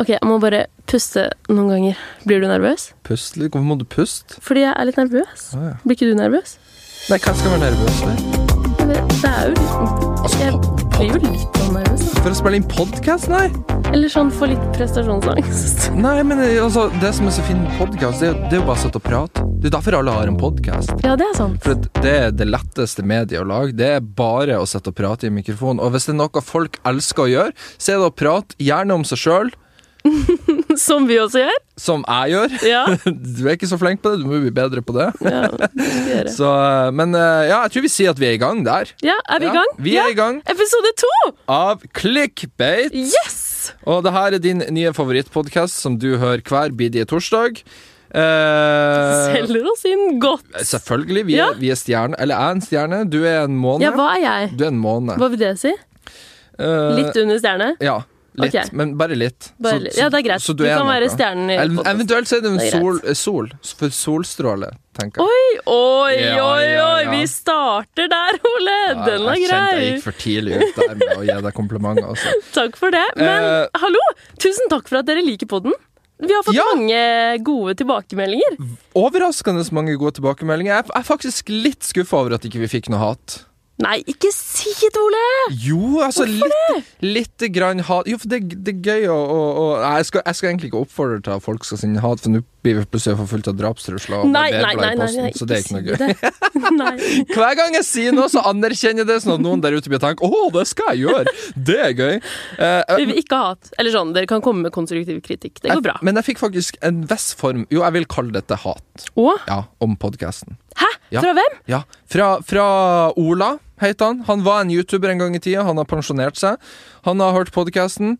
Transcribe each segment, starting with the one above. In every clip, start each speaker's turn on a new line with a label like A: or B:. A: Ok, jeg må bare puste noen ganger. Blir du nervøs?
B: Pust litt. Hvorfor må du puste?
A: Fordi jeg er litt nervøs.
B: Å, ja.
A: Blir ikke du nervøs?
B: Nei, hva skal jeg være nervøs for?
A: Jeg vet- Det er jo
B: Altså,
A: litt Jeg blir jo litt sånn nervøs. da.
B: For å spille inn podkast, nei?
A: Eller sånn for litt prestasjonsangst.
B: Nei, men eh, altså, det som er så fint med podkast, det, er jo- det er jo bare å sitte og prate. Det er jo derfor alle har en podkast.
A: Ja, det er sant.
B: For at det er det letteste mediet å lage. Det er bare å sitte og prate i mikrofonen. Og hvis det er noe folk elsker å gjøre, så er det å prate gjerne om seg sjøl,
A: Som vi også gjør.
B: som jeg gjør.
A: Ja.
B: Du er ikke så flink på det, du må bli bedre på det.
A: ja det skal vi gjøre.
B: Så, eh, men eh, ja, jeg tror vi sier at vi er i gang der.
A: Ja, er vi i
B: Ja,
A: gang?
B: vi
A: ja.
B: er i gang
A: Episode to!
B: av Clickbait.
A: Yes!
B: Og det her er din nye favorittpodkast som du hører hver bidige torsdag. Eh, sånn,
A: Selger oss inn godt.
B: selvfølgelig. Vi er,
A: Ja.
B: vi er stjerne. Eller jeg er en stjerne. Du er en måne.
A: Ja, hva er jeg?
B: Du er en måne.
A: Hva vil det si?
B: Eh,
A: Litt under stjerne?
B: Ja, litt,
A: Ok.
B: men bare litt.
A: Bare litt. Ja, det er greit.
B: så
A: du, kan
B: noe.
A: være stjernen i
B: Eller,
A: podcasten.
B: Eventuelt så er det en
A: Det er
B: sol, sol, for solstråle, tenker jeg.
A: Oi, oi,
B: Ja, ja,
A: oi! oi.
B: ja.
A: Vi starter der, Ole! Den var
B: jeg, jeg kjente jeg
A: grei.
B: gikk for tidlig ut der med å gi deg komplimenter. Altså.
A: Takk for det. Men
B: Eh,
A: hallo! Tusen takk for at dere liker podden. Vi har fått
B: Ja.
A: mange gode tilbakemeldinger.
B: Overraskende så mange gode tilbakemeldinger. Jeg er- Jeg er faktisk litt skuffa over at ikke vi ikke fikk noe hat.
A: Nei, ikke si det, Ole!
B: Jo, altså litt, lite grann hat Jo, for det, det er gøy å, å, å Nei, jeg, skal, jeg skal egentlig ikke oppfordre til at folk skal sende hat, for nå blir vi plutselig forfulgt av drapstrusler. og
A: Nei, nei,
B: barberblad
A: nei,
B: i
A: nei,
B: posten,
A: nei,
B: så det er ikke noe gøy.
A: si det. nei.
B: Hver gang jeg sier noe, så anerkjenner jeg det, sånn at noen der ute blir tenkt Å, det skal jeg gjøre! Det er gøy. Eh, eh,
A: Vi vil ikke ha hat. Eller sånn, dere kan komme med konstruktiv kritikk. Det går bra.
B: jeg- Eh, Men jeg fikk faktisk en viss form Jo, jeg vil kalle dette hat.
A: Å?
B: Ja, om podkasten.
A: Hæ?
B: Ja.
A: Fra hvem?
B: Ja. Fra, fra Ola, heter han. Han var en YouTuber en gang i tida. Han har pensjonert seg. Han har hørt podkasten.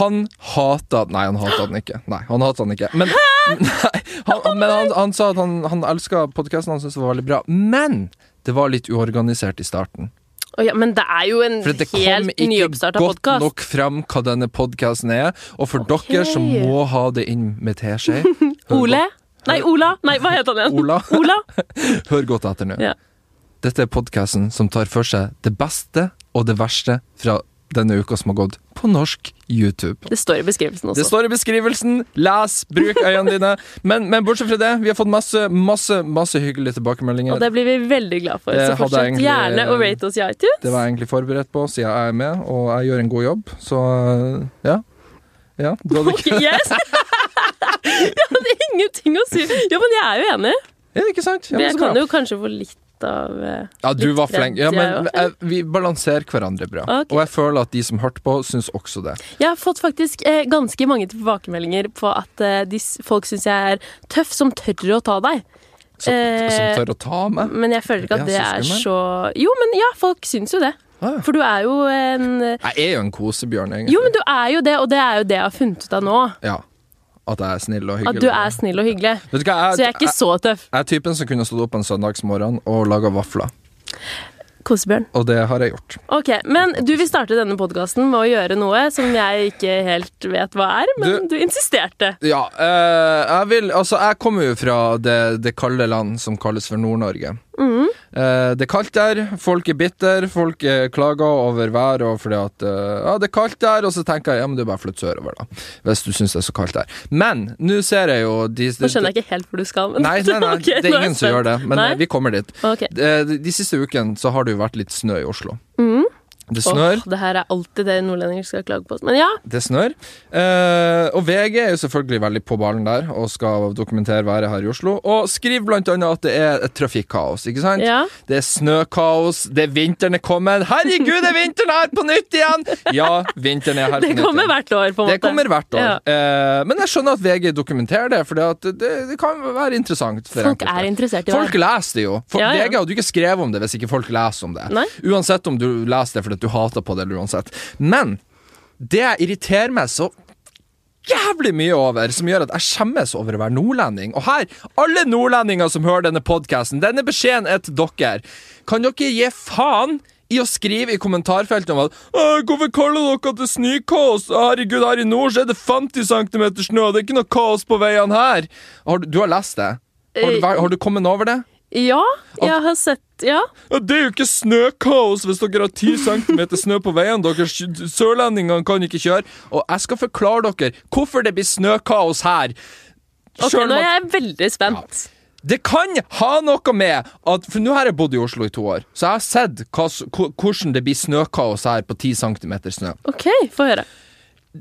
B: Han hata Nei, han hata den ikke. Nei, han hata den ikke. Men, nei, han, men han, han sa at han, han elska podkasten, han syntes det var veldig bra. Men det var litt uorganisert i starten.
A: Å ja, men det er jo en
B: For det kom
A: helt
B: ikke
A: nyoppstarta
B: godt
A: podkast.
B: nok fram hva denne podkasten er, og for
A: Ok.
B: dere som må ha det inn med teskje hør
A: Ole? Nei, Ola. Nei, hva het han
B: godt-
A: igjen?
B: Ola,
A: Ola?
B: hør godt etter nå.
A: Ja.
B: Dette er podkasten som tar for seg det beste og det verste fra denne uka som har gått på norsk YouTube.
A: Det står i beskrivelsen
B: Det
A: også.
B: står i beskrivelsen. Les, bruk øynene dine. Men, men bortsett fra det, vi har fått masse, masse, masse hyggelige tilbakemeldinger.
A: Og det blir vi veldig glad for.
B: Det
A: Så
B: hadde jeg
A: fortsett
B: egentlig-
A: gjerne å rate oss i iTunes.
B: Det var jeg egentlig forberedt på, siden jeg er med, og jeg gjør en god jobb, så ja. Ja, du hadde
A: Ok,
B: ikke
A: yes! jeg hadde ingenting å si. Jo, men jeg er jo enig.
B: Ja, ikke sant? Ja,
A: Men
B: men
A: jeg
B: så bra.
A: kan jo kanskje få litt av eh,
B: Ja, du
A: litt
B: var flink. Ja,
A: kred, jeg
B: men
A: var
B: eh, vi balanserer hverandre bra.
A: Ok.
B: Og jeg føler at de som hørte på, syns også det.
A: Jeg har fått faktisk eh, ganske mange tilbakemeldinger på at eh, de, s- folk syns jeg er tøff som tør å ta deg.
B: Som,
A: Eh,
B: som tør å ta meg.
A: Men jeg føler ikke
B: Ja,
A: at det
B: så
A: er
B: skummel.
A: så Jo, men ja, folk syns jo det.
B: Ah, ja.
A: For du er jo en
B: Jeg er jo en kosebjørn, egentlig.
A: Jo, men du er jo det, og det er jo det jeg har funnet ut av nå.
B: Ja. At jeg er snill og
A: At
B: hyggelig.
A: du er snill og hyggelig.
B: Vet du hva,
A: Så jeg er ikke
B: jeg,
A: så tøff.
B: jeg er typen som kunne stått opp en søndagsmorgen og laga vafler.
A: Kosebjørn.
B: Og det har jeg gjort.
A: Ok, Men du vil starte denne podkasten med å gjøre noe som jeg ikke helt vet hva er, men du, insisterte.
B: Ja, eh, jeg vil Altså, jeg kommer jo fra det, det kalde land som kalles for Nord-Norge.
A: Mm.
B: Eh, det er kaldt der, folk er bitter, folk eh, klager over været og fordi at eh, Ja, det er kaldt der, og så tenker jeg ja, men det er bare å flytte sørover, da. Hvis du syns det er så kaldt der. Men nå ser jeg jo de,
A: Nå skjønner jeg ikke helt hvor du skal. Men
B: Nei, nei, nei, det er ingen som gjør det, men
A: Nei?
B: eh, vi kommer dit.
A: Ok.
B: Eh, De, de siste ukene så har det jo vært litt snø i Oslo. Det snør.
A: mm. Åh, det her er alltid det nordlendinger skal klage på. Men ja,
B: Det snør. Eh, og VG er jo selvfølgelig veldig på ballen der og skal dokumentere været her i Oslo. Og skriver blant annet at det er et trafikkaos, ikke sant?
A: ja.
B: Det er snøkaos, det er vinteren er kommet. Herregud, er vinteren her på nytt igjen?! Ja, vinteren er her
A: Det
B: på nytt
A: kommer
B: igjen.
A: hvert år, på en måte.
B: Det kommer hvert år.
A: Ja.
B: Eh, men jeg skjønner at VG dokumenterer det, for det, det kan være interessant. For
A: Folk
B: enkelte.
A: er interessert i
B: Folk
A: det.
B: leser det jo. For
A: Ja, ja.
B: VG hadde jo ikke skrevet om det hvis ikke folk leser om det.
A: Nei.
B: Uansett om du leser det fordi at du hater på det, eller uansett. Men det jeg irriterer meg så jævlig mye over, som gjør at jeg skjemmes over å være nordlending Og her, alle nordlendinger som hører denne podkasten, denne beskjeden er til dere. Kan dere gi faen? I å skrive i kommentarfeltet om at «Åh, 'Hvorfor kaller dere det snøkaos?' Herregud, her i nord så er det 50 cm
A: Eh,
B: snø, det er ikke noe kaos på veiene her. Har du, du har lest det? Har du, vært- har du kommet over det?
A: Ja, jeg har sett Ja.
B: Ja, det er jo ikke snøkaos hvis dere har 10 cm snø på veien. Dere s- sørlendingene kan ikke kjøre. Og jeg skal forklare dere hvorfor det blir snøkaos her.
A: Ok,
B: Selv
A: nå
B: om at-
A: er jeg veldig spent.
B: det kan ha noe med at For nå har jeg bodd i Oslo i to år, så jeg har sett hva, s- ko- hvordan det blir snøkaos her på 10 cm snø.
A: OK, få høre.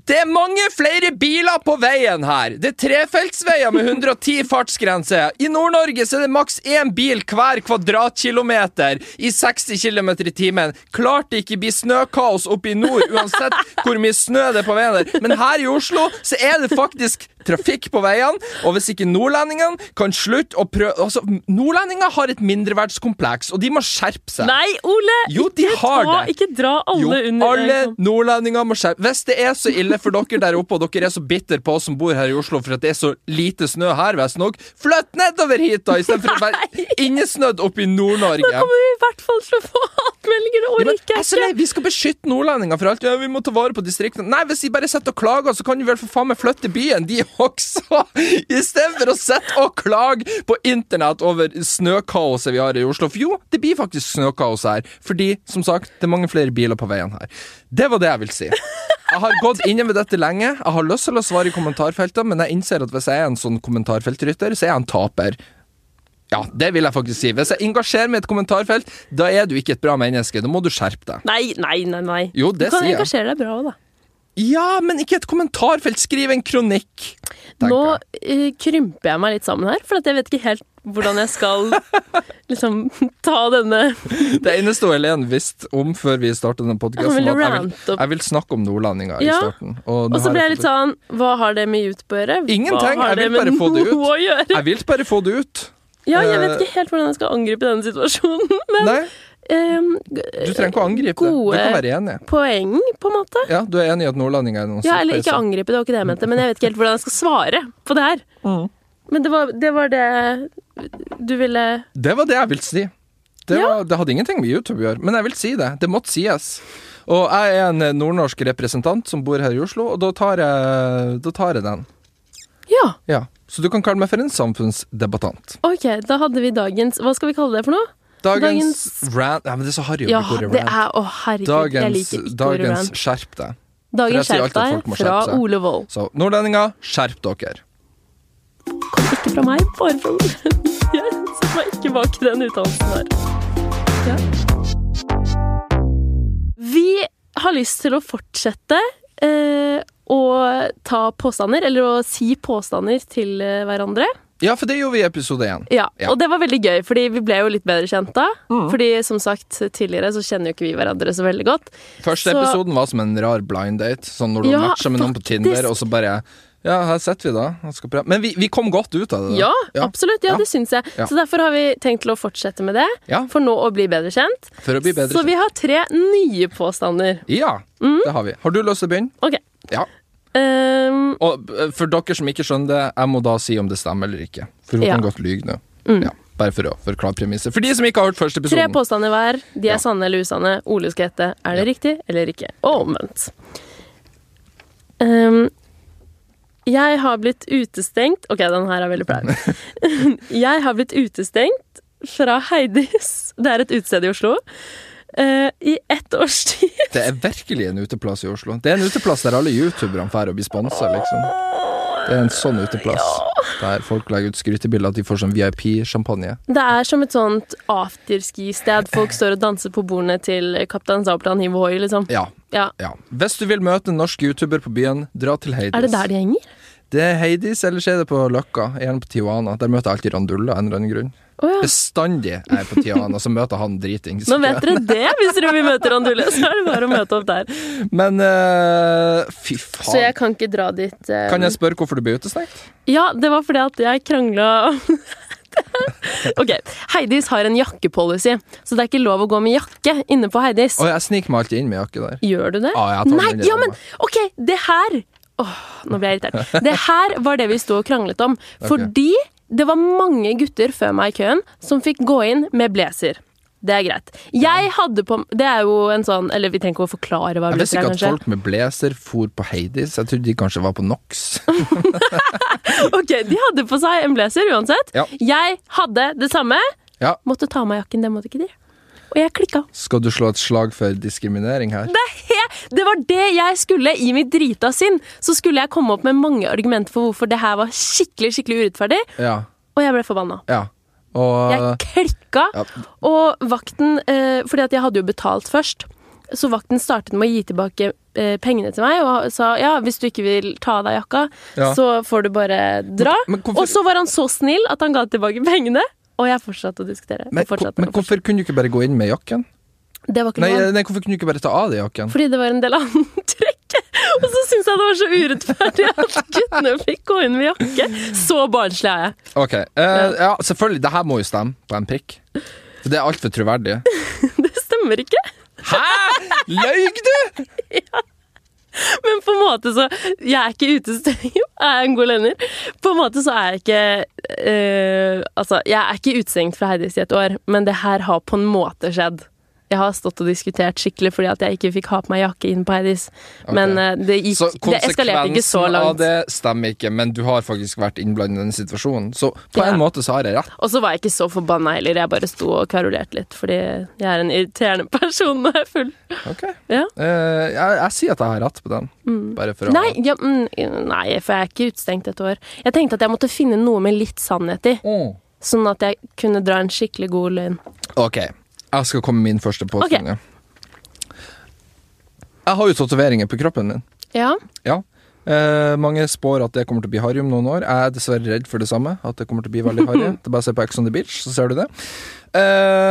B: Det er mange flere biler på veien her! Det er trefeltsveier med 110 fartsgrense. I Nord-Norge så er det maks én bil hver kvadratkilometer i 60 km i timen. Klart det ikke blir snøkaos oppe i nord, uansett hvor mye snø det er på veien der. Men her i Oslo så er det faktisk trafikk på veiene, og hvis ikke nordlendingene kan slutte å prøve Altså, nordlendinger har et mindreverdskompleks, og de må skjerpe seg.
A: Nei, Ole!
B: Jo, de
A: ikke,
B: har
A: dra,
B: det.
A: ikke dra alle
B: Jo,
A: under
B: alle nordlendinger må skjerpe Hvis det er så ille for dere der oppe, og dere er så bitter på oss som bor her i Oslo for at det er så lite snø her, visstnok, flytt nedover hit, da, istedenfor å være innesnødd oppe i Nord-Norge.
A: Kommer vi i hvert fall til å få hatmeldinger? Det
B: Ja, men altså,
A: orker
B: jeg er så
A: jeg
B: lei.
A: ikke.
B: Vi skal beskytte nordlendinger for alt. Ja, vi må ta vare på distriktene. Nei, hvis de bare sitter og klager, så kan de vel for faen meg flytte byen, de også! Istedenfor å sitte og klage på internett over snøkaoset vi har i Oslo. For jo, det blir faktisk snøkaos her. Fordi, som sagt, det er mange flere biler på veien her. Det var det jeg ville si. Jeg har gått inne ved dette lenge. Jeg har lyst til å svare i kommentarfeltene, men jeg innser at hvis jeg er en sånn kommentarfeltrytter, så er jeg en taper. Ja, det vil jeg faktisk si. Hvis jeg engasjerer meg i et kommentarfelt, da er du ikke et bra menneske. Da må du skjerpe deg.
A: Nei, nei, nei. nei.
B: Jo, det
A: du kan
B: sier jeg.
A: engasjere deg bra òg, da.
B: Ja, men ikke et kommentarfelt. Skriv en kronikk. tenker
A: Nå
B: jeg.
A: eh, krymper jeg meg litt sammen her, for at jeg vet ikke helt hvordan jeg skal liksom ta denne
B: Det eneste Helen visste om før vi startet denne
A: Han
B: podkasten,
A: ville
B: var at jeg
A: rante
B: vil,
A: opp.
B: jeg vil snakke om nordlendinger
A: Ja,
B: i starten. Og,
A: Og
B: nå
A: så
B: har
A: ble jeg
B: fått
A: litt sånn Hva har det med YouTube å gjøre?
B: Ingenting,
A: Hva har
B: jeg
A: det
B: vil
A: med
B: bare få det ut.
A: noe å gjøre?
B: det. Jeg vil bare få det ut.
A: Ja, jeg
B: Eh,
A: vet ikke helt hvordan jeg skal angripe denne situasjonen, men
B: Nei,
A: ehm,
B: du trenger ikke å angripe
A: Gode-
B: det. Du kan være enig.
A: poeng, på en måte.
B: Ja, du er enig i at nordlendinger er noen
A: Ja, eller ikke
B: superser.
A: angripe, det var ikke det jeg mente, men jeg vet ikke helt hvordan jeg skal svare på det her.
B: Mhm.
A: Men det var, det var det du ville
B: Det var det jeg ville si. Det,
A: Ja.
B: var, det hadde ingenting med YouTube å gjøre, men jeg vil si det. Det måtte sies. Og jeg er en eh, nordnorsk representant som bor her i Oslo, og da tar jeg, da tar jeg den.
A: Ja,
B: Ja. Så du kan kalle meg for en samfunnsdebattant.
A: OK, da hadde vi dagens Hva skal vi kalle det for noe?
B: Dagens, rant Nei, men det er så harry å
A: Ja,
B: bruke ordet
A: det
B: rant.
A: er Å, herregud, jeg
B: Dagens,
A: liker ikke ordet
B: dagens
A: rant.
B: skjerp deg.
A: Dagens
B: for jeg sier
A: skjerp
B: alltid at folk
A: deg
B: må
A: fra
B: skjerpe seg.
A: Ole Wold.
B: Så nordlendinger, skjerp dere.
A: Ikke fra meg, bare fra Ole. Jeg setter meg ikke bak den uttalelsen der. Ja. Vi har lyst til å fortsette eh, å ta påstander, eller å si påstander til eh, hverandre.
B: Ja, for det gjorde vi i episode én.
A: Ja,
B: Ja. Mm.
A: Og det var veldig gøy, fordi vi ble jo litt bedre kjent da. Fordi som sagt tidligere så kjenner jo ikke vi hverandre så veldig godt.
B: Første
A: Så-
B: episoden var som en rar blind date. Sånn når du
A: Ja,
B: matcher med noen på
A: faktisk.
B: Tinder, og så bare Ja, her sitter vi da. og skal prøve. Men vi, vi kom godt ut av det. da.
A: Ja, absolutt. Ja,
B: Ja.
A: det syns jeg.
B: Ja.
A: Så derfor har vi tenkt til å fortsette med det.
B: Ja.
A: For nå å bli bedre kjent.
B: For å bli bedre
A: så vi Mm. har tre nye påstander.
B: kjent. Ja, det har vi. Har du lyst til å begynne?
A: Ok.
B: Ja.
A: Ehm,
B: Og eh, for dere som ikke skjønner det, jeg må da si om det stemmer eller ikke. For hun
A: Ja. Mm.
B: kan godt lyge nå. Ja, bare for å forklare premisset. For de som ikke har hørt første
A: tre
B: episoden.
A: påstander hver. De er
B: Ja.
A: sanne eller usanne. Ole skal gjette er det riktig eller ikke. Og omvendt. Ehm, jeg har blitt utestengt Ok, den her er veldig flau. jeg har blitt utestengt fra Heidis. Det er et utested i Oslo. eh, I ett års tid.
B: Det er virkelig en uteplass i Oslo. Det er en uteplass der alle youtuberne drar og blir sponsa, liksom. Det er en sånn uteplass. Der folk legger ut skrytebilder at de får sånn VIP-sjampanje.
A: Det er som et sånt afterski-sted. Folk står og danser på bordene til Kaptein Sabeltann i Voi, liksom.
B: Ja,
A: Ja.
B: ja. Hvis du vil møte en norsk youtuber på byen, dra til Heidis.
A: Er det der de henger?
B: Det er Heidis, ellers er det på Løkka. Gjerne på Tijuana. Der møter jeg alltid Randulla av en eller annen grunn.
A: Å ja.
B: Bestandig er jeg på Tijuana, så møter han dritings.
A: Nå vet dere det, hvis dere vil møte Randulle. Så er det bare å møte opp der.
B: Men eh, fy faen.
A: Så jeg kan ikke dra dit. eh.
B: Kan jeg spørre hvorfor du ble utestengt?
A: Ja, det var fordi at jeg krangla Ok. Heidis har en jakkepolicy, så det er ikke lov å gå med jakke inne på Heidis.
B: Å, jeg sniker meg alltid inn med jakke der.
A: Gjør du det?
B: Ja, jeg tar den
A: Nei,
B: inn i
A: ja,
B: rommet.
A: men ok, det her Åh, nå ble jeg irritert. Det her var det vi sto og kranglet om. Fordi det var mange gutter før meg i køen som fikk gå inn med blazer. Det er greit. Jeg hadde på Det er jo en sånn Eller vi trenger ikke å forklare hva
B: Jeg
A: blazer er,
B: visste ikke at
A: kanskje.
B: folk med blazer for på Heidis. Jeg trodde de kanskje var på NOx.
A: Ok, De hadde på seg en blazer uansett.
B: Ja.
A: Jeg hadde det samme.
B: Ja.
A: Måtte ta av meg jakken, det måtte ikke de. Og jeg klikka.
B: Skal du slå et slag for diskriminering her?
A: Det, er he- det var det jeg skulle i mitt drita sinn. Så skulle jeg komme opp med mange argumenter for hvorfor det her var skikkelig skikkelig urettferdig,
B: Ja.
A: og jeg ble forbanna.
B: ja. Og eh,
A: Jeg klikka,
B: Ja.
A: og vakten eh, Fordi at jeg hadde jo betalt først. Så vakten startet med å gi tilbake eh, pengene til meg og sa ja, hvis du ikke vil ta av deg jakka,
B: Ja.
A: så får du bare dra.
B: Men- men hvorfor-
A: Og så var han så snill at han ga tilbake pengene, og jeg fortsatte å diskutere.
B: men,
A: og fortsatte,
B: men
A: og
B: hvorfor kunne du ikke bare gå inn med jakken?
A: fortsatte. Det var ikke
B: Nei,
A: noe
B: nei, hvorfor kunne du ikke bare ta av deg jakken?
A: Fordi det var en del antrekk. Og så syntes jeg det var så urettferdig at guttene fikk gå inn med jakke. Så barnslig er jeg.
B: Ok, eh, ja, selvfølgelig, det her må jo stemme på en prikk. For det er altfor troverdig.
A: Det stemmer ikke.
B: Hæ?! Løy du?!
A: Men på en måte så Jeg er ikke utestengende. Jo, jeg er en god lønner. På en måte så er jeg ikke eh, Altså, jeg er ikke utestengt fra Heidis i et år, men det her har på en måte skjedd. Jeg har stått og diskutert skikkelig fordi at jeg ikke fikk ha på meg jakke inn på Heidis. Men eh, det,
B: Så
A: gikk, det eskalerte ikke så
B: konsekvensen av
A: langt.
B: det stemmer ikke, men du har faktisk vært innblandet i denne situasjonen. Så på
A: Ja.
B: en måte så har jeg rett.
A: Og så var jeg ikke så forbanna heller, jeg bare sto og kverulerte litt fordi jeg er en irriterende person når jeg er full.
B: Ok.
A: Ja.
B: Eh, jeg, jeg sier at jeg har rett på den. Bare for å
A: Nei, ja, mm, nei, for jeg er ikke utestengt et år. Jeg tenkte at jeg måtte finne noe med litt sannhet i.
B: Mm.
A: Sånn at jeg kunne dra en skikkelig god løgn.
B: Ok, jeg skal komme med min første påstand. ja. Jeg har jo tatoveringer på kroppen min.
A: Ja.
B: Ja. Eh, mange spår at det kommer til å bli harry om noen år. Jeg er dessverre redd for det samme. At det kommer til å bli veldig harry. Det er bare å se på Ex on the Beach, så ser du det. Eh,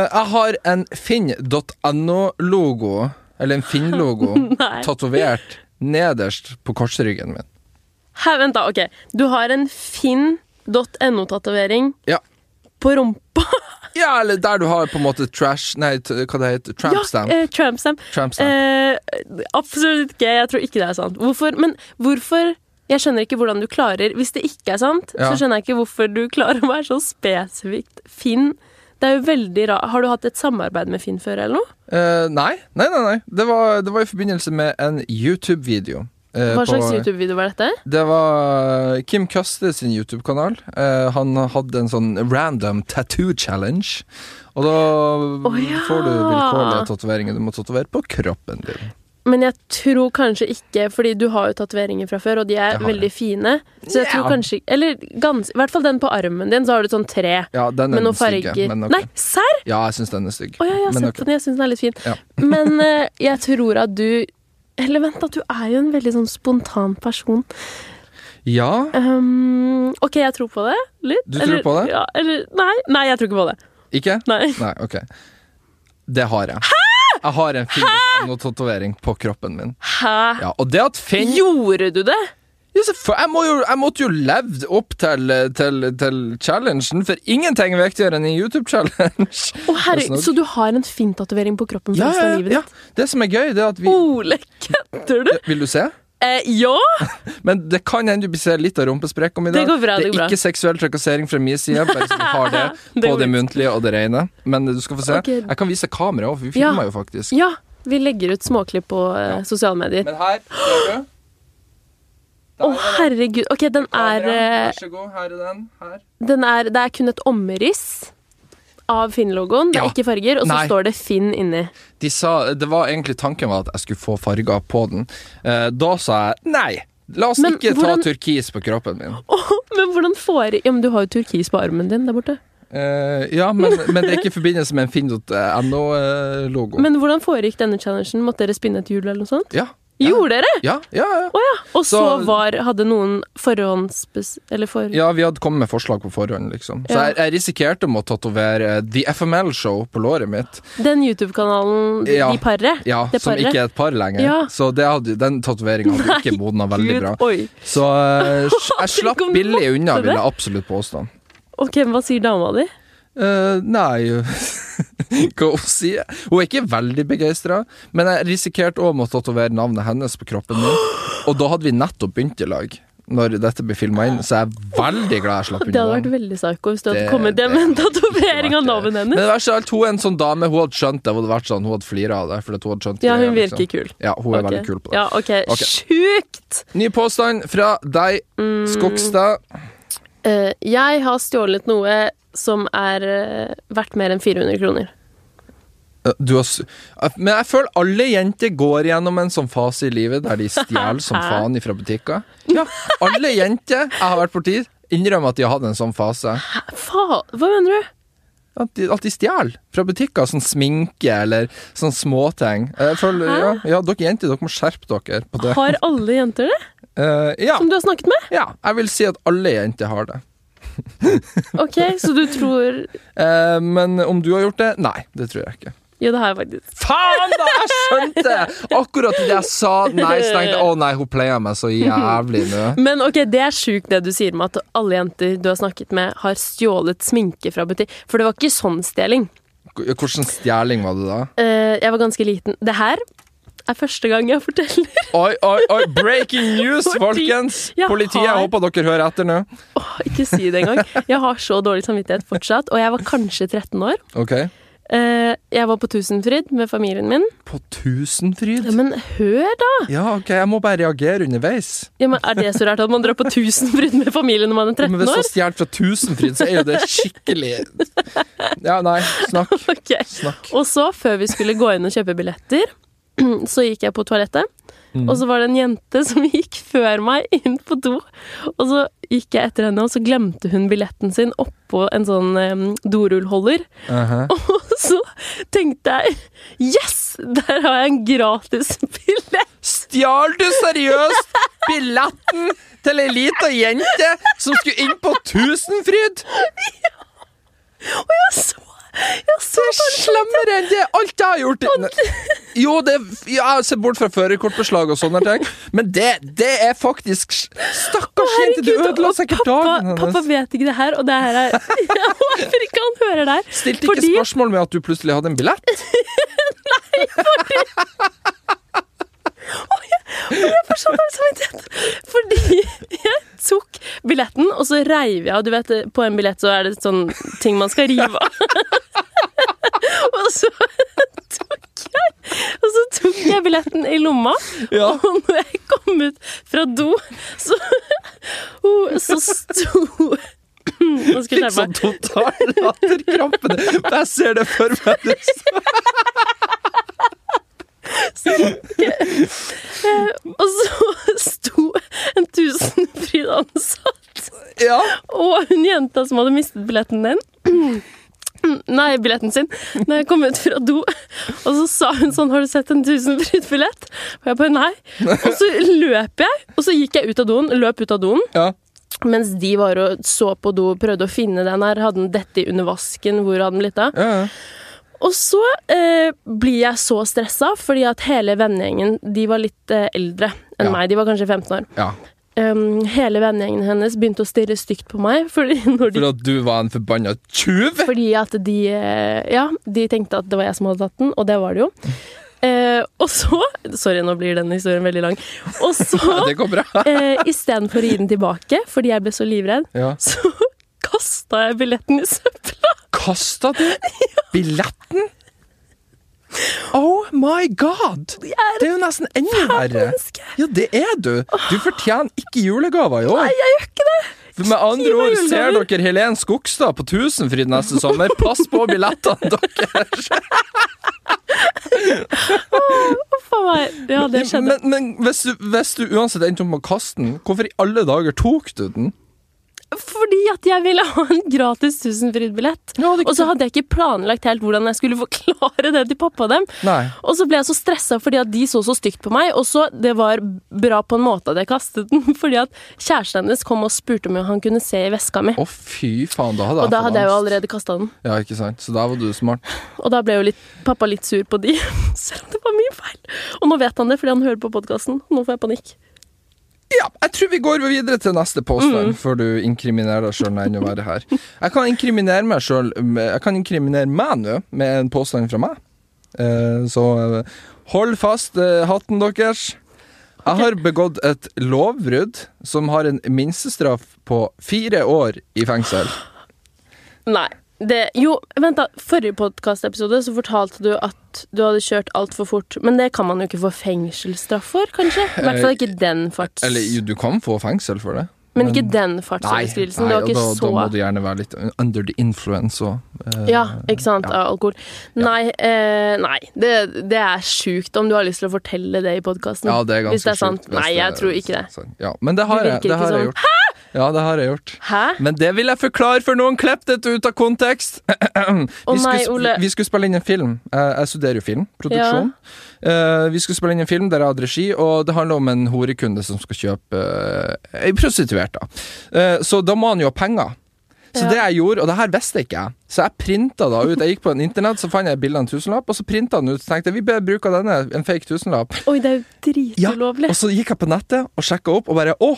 B: jeg har en finn.no-logo, eller en Finn-logo,
A: Nei.
B: tatovert nederst på korsryggen min.
A: Her, vent, da. Ok. Du har en finn.no-tatovering
B: Ja.
A: på rumpa.
B: ja, eller der du har på en måte trash Nei, t hva det heter Tramp stamp.
A: Ja, eh, tramp stamp.
B: Tramp stamp.
A: Eh, absolutt ikke. Jeg tror ikke det er sant. Hvorfor? Men hvorfor Jeg skjønner ikke hvordan du klarer Hvis det ikke er sant,
B: Ja.
A: så skjønner jeg ikke hvorfor du klarer å være så spesifikt Finn. Det er jo veldig rart. Har du hatt et samarbeid med Finn før, eller noe?
B: Eh, nei, nei, nei. nei. Det, var, det var i forbindelse med en YouTube-video. eh,
A: Hva
B: på-
A: slags YouTube-video var dette?
B: Det var eh, Kim Custer sin YouTube-kanal. Eh, han hadde en sånn random tattoo challenge. Og da
A: Å, ja.
B: får du vilkårlige tatoveringer du må tatovere på kroppen din.
A: Men jeg tror kanskje ikke, fordi du har jo tatoveringer fra før, og de
B: Det
A: er
B: har jeg.
A: veldig fine. Så jeg
B: Ja.
A: tror kanskje Eller gans, i hvert fall den på armen din, så har du sånn tre
B: Ja, den
A: med
B: er den
A: noen
B: stygge.
A: farger.
B: Men ok.
A: Nei, serr?!
B: Ja, jeg syns den er stygg.
A: Å ja, jeg har
B: Men
A: sett
B: ok.
A: den, jeg syns den er litt fin.
B: Ja.
A: Men eh, jeg tror at du Eller vent, at du er jo en veldig sånn spontan person.
B: Ja,
A: Um, OK, jeg tror på det. Litt.
B: Du tror på det?
A: Ja, eller Nei, nei, jeg tror ikke på det.
B: ikke?
A: Nei.
B: Nei, ok. Det har jeg. Jeg har en Finn-tatovering på kroppen min.
A: Hæ?
B: Ja, og det at Finn
A: Gjorde du det?
B: Ja, selvfø- jeg, må jo, jeg måtte jo levd opp til, til, til challengen, for ingenting er viktigere enn en YouTube-challenge.
A: Å herregud,
B: Tusen takk.
A: Så du har en fin tatovering på kroppen for
B: Ja,
A: resten av
B: ja,
A: livet
B: ja.
A: ditt?
B: Det som er gøy, det er at vi
A: Ole, kødder du?
B: Vil du se?
A: Eh, ja!
B: Men det kan hende du blir se litt av rumpesprekken om i dag.
A: Det går bra, det går bra.
B: er ikke seksuell trakassering fra min side, bare så vi har det
A: Det
B: på
A: går
B: det
A: fint.
B: muntlige og det rene. Men du skal få se.
A: Ok.
B: Jeg kan vise kameraet òg, for vi
A: Ja.
B: filmer jo faktisk.
A: Ja, vi legger ut småklipp på eh, sosiale medier.
B: Men her ser du.
A: Å, herregud. Ok, den er, eh,
B: Vær så god, her er den. Her.
A: den er Det er kun et omriss av Finn-logoen. Det er
B: Ja.
A: ikke farger, og så
B: Nei.
A: står det Finn inni.
B: De sa, det var egentlig tanken var at jeg skulle få farger på den. Eh, da sa jeg nei. La oss
A: Men
B: ikke
A: hvordan-
B: ta turkis på kroppen min.
A: Åh, men hvordan får Ja, men du har jo turkis på armen din der borte.
B: Eh, ja, men, men det er ikke i forbindelse med en finn.no-logo.
A: Men hvordan foregikk denne challengen? Måtte dere spinne et hjul eller noe sånt?
B: Ja,
A: Gjorde dere?!
B: ja, ja, ja.
A: Å ja! Og så,
B: Så-
A: var Hadde noen forhåndsbes... Eller for...
B: Ja, vi hadde kommet med forslag på forhånd, liksom. Så
A: Ja.
B: jeg, jeg risikerte med å tatovere eh, The FML Show på låret mitt.
A: Den YouTube-kanalen
B: Ja.
A: De paret?
B: Ja,
A: Det
B: Som
A: paret.
B: ikke er et par lenger.
A: Ja.
B: Så det hadde, den tatoveringa hadde ikke modna veldig bra.
A: Oi.
B: Så eh, jeg slapp
A: om du
B: billig unna,
A: måtte
B: vil
A: det.
B: jeg absolutt påstå.
A: Ok, men hva sier dama di?
B: Eh, nei Hva hun sier Hun er ikke veldig begeistra, men jeg risikerte òg med å tatovere navnet hennes på kroppen min. Og da hadde vi nettopp begynt i lag, når dette ble filma inn, så jeg er veldig glad jeg slapp
A: Det hadde
B: unna.
A: vært veldig psycho hvis du hadde
B: Det-
A: kommet hjem med en tatovering av navnet
B: Men
A: hennes.
B: det verste av alt, hun er en sånn dame, hun hadde skjønt det. Hun hadde vært sånn, hun hadde flira av det. Fordi at hun hadde
A: Ja,
B: skjønt greia, liksom.
A: hun virker kul.
B: Ja, hun
A: Ok.
B: er veldig kul på det.
A: Ja, ok.
B: Ok.
A: Sjukt! Mm.
B: Ny påstand fra deg, Skogstad.
A: Eh, jeg har stjålet noe som er eh, verdt mer enn 400 kroner.
B: Eh, Du har, s- eh, men jeg føler alle jenter går gjennom en sånn fase i livet der de stjeler som faen ifra butikker. Ja, alle jenter jeg har vært borti, innrømmer at de har hatt en sånn fase.
A: Hæ? Faen, hva mener du?
B: At de, at de stjeler fra butikker. Sånn sminke eller sånn småting. Jeg føler, ja, ja, dere jenter, dere må skjerpe dere på det.
A: Har alle jenter det?
B: Eh, ja,
A: Som du har snakket med?
B: ja, jeg vil si at alle jenter har det.
A: Ok, så du tror
B: Eh, men om du har gjort det? Nei, det tror jeg ikke.
A: Jo, det har jeg faktisk.
B: Faen, da! Jeg skjønte det! Akkurat det jeg sa nei, så tenkte jeg å nei, hun pleier meg så jævlig nå.
A: Men ok, det er sjukt det du sier med at alle jenter du har snakket med, har stjålet sminke fra butikk. For det var ikke sånn stjeling.
B: K- Hvordan stjeling var det da?
A: Eh, jeg var ganske liten. Det her er første gang jeg forteller.
B: Oi, oi, oi! Breaking news,
A: Fordi
B: folkens!
A: jeg
B: Politiet,
A: har-
B: jeg håper dere hører etter nå.
A: Åh, ikke si det engang. Jeg har så dårlig samvittighet fortsatt. Og jeg var kanskje 13 år.
B: Ok.
A: Eh, jeg var på Tusenfryd med familien min.
B: På
A: Ja,
B: Tusenfryd?
A: men hør, da!
B: Ja, ok, jeg må bare reagere underveis.
A: Ja, men er det så rart at man drar på Tusenfryd med familien når man er 13
B: Men hvis du
A: år?
B: har stjålet fra Tusenfryd, så er jo det skikkelig Ja, nei, snakk.
A: Ok.
B: Snakk.
A: Og så, før vi skulle gå inn og kjøpe billetter, så gikk jeg på toalettet.
B: Mm.
A: Og så var det en jente som gikk før meg inn på do. Og så gikk jeg etter henne, og så glemte hun billetten sin oppå en sånn eh, dorullholder.
B: Aha.
A: Og så tenkte jeg Yes! Der har jeg en gratis billett!
B: Stjal du seriøst billetten til ei lita jente som skulle inn på Tusenfryd?
A: Jeg så, jeg så
B: Det er slemmere enn det alt jeg har gjort. Ne- Jo, det, ja, jeg ser bort fra førerkortbeslag og sånne ting, men det, det er faktisk s- Stakkars jente, du
A: Herregud,
B: ødela
A: og
B: sikkert dagen
A: pappa, pappa
B: hennes.
A: vet ikke det her, og det her er Jeg håper ikke han hører der.
B: Stilte ikke spørsmål med at du plutselig hadde en billett?
A: for så dårlig samvittighet. Fordi jeg tok billetten, og så reiv jeg av. Du vet, på en billett så er det sånn ting man skal rive av. og så tok jeg Og så tok jeg billetten i lomma,
B: Ja.
A: og når jeg kom ut fra do, så Så sto Nå skal jeg skjerpe
B: Fikk sånn
A: meg.
B: total latterkrampe. Jeg ser det for meg.
A: Og så sto en Tusenfryd-ansatt
B: Ja.
A: Og hun jenta som hadde mistet billetten din Nei, billetten sin Når jeg kom ut fra do Og så sa hun sånn, har du sett en tusenfryd-billett? Og jeg bare, nei Og så løp jeg, og så gikk jeg ut av doen Løp ut av doen,
B: ja.
A: mens de var og så på do Prøvde å finne den her, hadde den dette i under vasken Hvor hadde den blitt av?
B: ja.
A: Og så eh, blir jeg så stressa Fordi at hele vennegjengen, de var litt eh, eldre enn
B: Ja.
A: meg, de var kanskje 15 år
B: ja.
A: um, Hele vennegjengen hennes begynte å stirre stygt på meg Fordi når de
B: For at du var en forbanna tjuv?
A: Fordi at de eh, Ja, de tenkte at det var jeg som hadde tatt den, og det var det jo. Eh, og så Sorry, nå blir den historien veldig lang. Og så,
B: Det går bra.
A: eh, istedenfor å gi den tilbake, fordi jeg ble så livredd,
B: Ja.
A: så kasta jeg billetten i søpla.
B: Kasta du billetten? Oh my god!
A: er
B: Det er jo nesten enda verre.
A: menneske.
B: Ja, det er du. Du fortjener ikke julegaver i
A: Nei,
B: år.
A: jeg gjør ikke det!
B: For med
A: gi
B: andre
A: meg
B: ord, ser
A: julegaver.
B: dere Helen Skogstad på Tusenfryd neste sommer. Pass på billettene deres!
A: Huff a meg. Ja, det skjedde.
B: Men, men hvis, du, hvis du uansett endte opp med å kaste den, hvorfor i alle dager tok du den?
A: Fordi at jeg ville ha en gratis Tusenfryd-billett.
B: Ja, det-
A: Og så hadde jeg ikke planlagt helt hvordan jeg skulle forklare det til pappa og dem.
B: Nei.
A: Og så ble jeg så stressa fordi at de så så stygt på meg. Og så Det var bra på en måte at jeg kastet den, fordi at kjæresten hennes kom og spurte om han kunne se i veska mi.
B: Å, fy faen, da hadde
A: Og da
B: jeg fått
A: hadde jeg jo
B: angst.
A: allerede kasta den.
B: Ja, ikke sant? Så da var du smart.
A: Og da ble jo litt, pappa litt sur på de, selv om det var min feil. Og nå vet han det fordi han hører på podkasten. Nå får jeg panikk.
B: Ja, jeg tror vi går videre til neste
A: Mm.
B: påstand, før du inkriminerer deg sjøl enda verre her. Jeg kan inkriminere meg sjøl Jeg kan inkriminere meg nå med en påstand fra meg. Eh, så eh, hold fast eh, hatten deres. Jeg har begått et lovbrudd som har en minstestraff på fire år i fengsel.
A: Nei. Det, jo, vent da. Forrige podkastepisode så fortalte du at du hadde kjørt altfor fort. Men det kan man
B: Eh,
A: jo ikke få fengselsstraff for, kanskje? I hvert fall ikke den farts...
B: Eller jo, du kan få fengsel for det.
A: Men ikke den
B: Nei,
A: fartsbeskrivelsen.
B: nei
A: Det
B: og
A: var
B: da,
A: ikke
B: da må
A: så
B: du gjerne være litt under the influence og eh,
A: Ja, ikke sant? Av alkohol. Nei, eh, nei. Det, det er sjukt om du har lyst til å fortelle det i podkasten.
B: ja, det er ganske
A: hvis det er sant.
B: sjukt, hvis
A: Nei,
B: det
A: jeg
B: er
A: tror ikke det.
B: sant. Ja, men det har,
A: Det
B: jeg,
A: virker
B: det har
A: ikke
B: jeg
A: sånn.
B: gjort. Ja, det har jeg gjort.
A: Hæ?
B: Men det vil jeg forklare for noen klepp dette ut av kontekst! vi,
A: nei,
B: skulle,
A: Ole.
B: sp- vi skulle spille inn en film. Eh, Jeg studerer jo film, produksjon. Eh, vi skulle spille inn en film der jeg hadde regi, og det handler om en horekunde som skal kjøpe eh, ei prostituert. da. Eh, så da må han jo ha penger.
A: Ja.
B: Så det jeg gjorde, og det her visste ikke jeg, så jeg printa da ut. Jeg gikk på en internett, så fant jeg et bilde av en tusenlapp, og så printa den ut. Så tenkte jeg vi bør bruke denne, en fake tusenlapp.
A: Oi, det er jo
B: Ja,
A: dritulovlig.
B: og så gikk jeg på nettet og sjekka opp, og bare Å,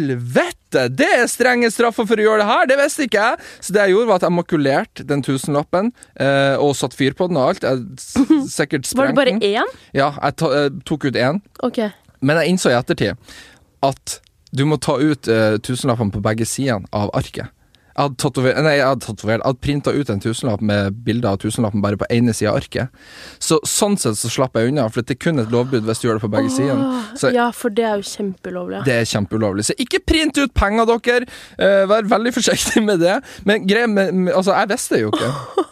B: helvete! Det er strenge straffer for å gjøre det her! Det visste ikke jeg! Så det jeg gjorde, var at jeg makulerte den tusenlappen, eh, og satte fyr på den og alt. Jeg s-
A: Var
B: sikkert
A: det
B: sprengte
A: bare
B: den.
A: én?
B: Ja, jeg ta, eh, tok ut én.
A: Ok.
B: Men jeg innså i ettertid at du må ta ut eh, tusenlappene på begge sidene av arket. Jeg hadde, tatover- nei, jeg hadde, tatover- jeg hadde printa ut en tusenlapp med bilde av tusenlappen bare på ene sida av arket. Så Sånn sett så slapp jeg unna, for det er kun et lovbrudd hvis du gjør det på begge sider.
A: Åh,
B: Mm. Så
A: Ja, for det er jo kjempeulovlig. Ja.
B: det er kjempeulovlig. Så ikke print ut penger, dere! Eh, vær veldig forsiktig med det. Men greia med, med Altså, jeg visste det jo ikke. eh,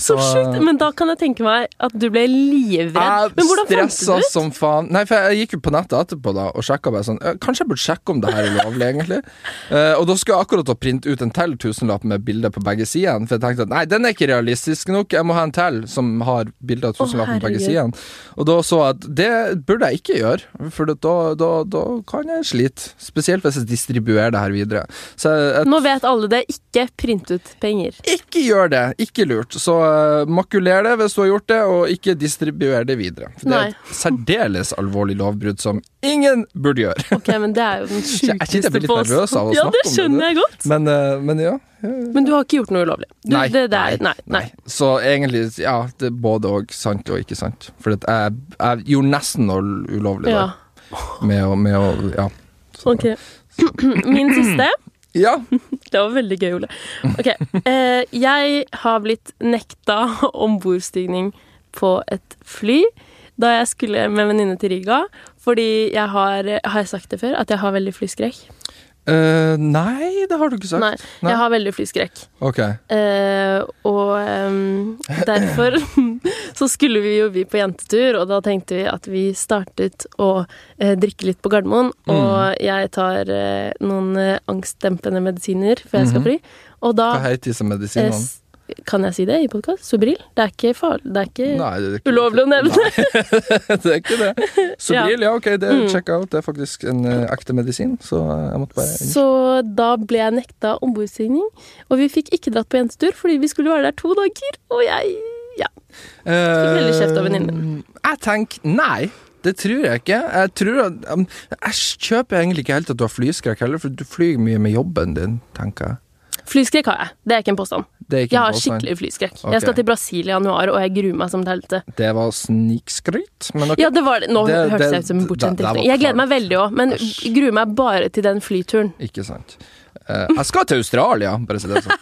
A: Så sjukt! Men da kan jeg tenke meg at du ble livredd. Men hvordan
B: jeg
A: fant du
B: stressa
A: det ut?
B: som faen. Nei, for jeg gikk jo på nettet etterpå da og sjekka bare sånn eh, Kanskje jeg burde sjekke om det her er lovlig, egentlig? Eh, og da skulle jeg akkurat å printe ut en til tusenlapp med bilder på begge sidene, for jeg tenkte at nei, den er ikke realistisk nok, jeg må ha en til som har bilder av tusenlappen på begge
A: herregud.
B: sidene. Og da så jeg at det burde jeg ikke gjøre, for da, da, da kan jeg slite. Spesielt hvis jeg distribuerer det her videre. Så jeg, jeg
A: Nå vet alle det. Ikke print ut penger.
B: ikke gjør det. Ikke lurt. Så eh, makuler det hvis du har gjort det, og ikke distribuer det videre. For det er et særdeles alvorlig lovbrudd som ingen burde gjøre.
A: Ok, men det er jo den
B: Jeg kjente jeg ble
A: sjukeste
B: litt nervøs av å
A: Ja, det
B: snakke om det, du.
A: skjønner jeg godt.
B: Men, eh, men ja.
A: Men du har ikke gjort noe ulovlig. Du,
B: Nei,
A: det, det er, nei, nei.
B: Så egentlig, ja, det er både og sant og ikke sant. For at jeg, jeg gjorde nesten noe ulovlig
A: Ja, Sånn.
B: der. Med å, med å Ja. Så-
A: ok. Min siste.
B: ja.
A: Det var veldig gøy, Ole. Ok, eh, Jeg har blitt nekta ombordstigning på et fly da jeg skulle med en venninne til Riga. Fordi jeg har Har jeg sagt det før? At jeg har veldig flyskrekk?
B: Eh, nei, det har du ikke sagt.
A: Nei,
B: Nei.
A: jeg har veldig flyskrekk.
B: Ok.
A: Eh, og ehm, derfor så skulle vi jo vi på jentetur, og da tenkte vi at vi startet å eh, drikke litt på Gardermoen.
B: Mm.
A: Og jeg tar eh, noen eh, angstdempende medisiner før jeg skal fly. Og da
B: Mhm. Hva heter disse
A: eh,
B: medisinene?
A: s- Kan jeg si det i podkast? Sobril? Det er ikke farlig. Det er ikke
B: Nei, det er ikke-
A: ulovlig å nevne.
B: det er ikke det. Sobril, ja. ok, det
A: Mm.
B: check out. Det er faktisk en eh, ekte medisin, så eh, jeg måtte bare
A: Så da ble jeg nekta ombordstigning, og vi fikk ikke dratt på jentetur fordi vi skulle være der to dager, og jeg ja. heller kjeft av venninnen
B: min. Eh, Jeg tenker nei. Det tror jeg ikke. Jeg tror at um, Jeg kjøper egentlig ikke helt at du har flyskrekk heller, for du flyr mye med jobben din, tenker jeg.
A: Flyskrekk har jeg. Det er ikke en påstand.
B: Det er ikke
A: Jeg
B: en
A: har
B: påstand.
A: skikkelig flyskrekk.
B: Ok.
A: Jeg skal til Brasil i januar, og jeg gruer meg som et helvete.
B: Det var snikskryt, men ok.
A: Ja, det var det. Nå
B: Det- det-
A: hørtes jeg ut som en bortskjemt
B: det- det var
A: dritting. Jeg gleder meg
B: kaldt.
A: veldig òg, men
B: Æsj.
A: gruer meg bare til den flyturen.
B: Ikke sant. Eh, jeg skal til Australia, bare si det sånn.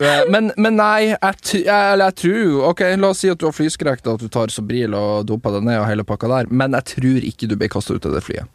B: Eh, Men, men nei, jeg, tr- jeg, eller jeg tror jo Ok, La oss si at du har flyskrekk, da, at du tar Sobril og doper deg ned og hele pakka der, men jeg tror ikke du blir kasta ut av det flyet.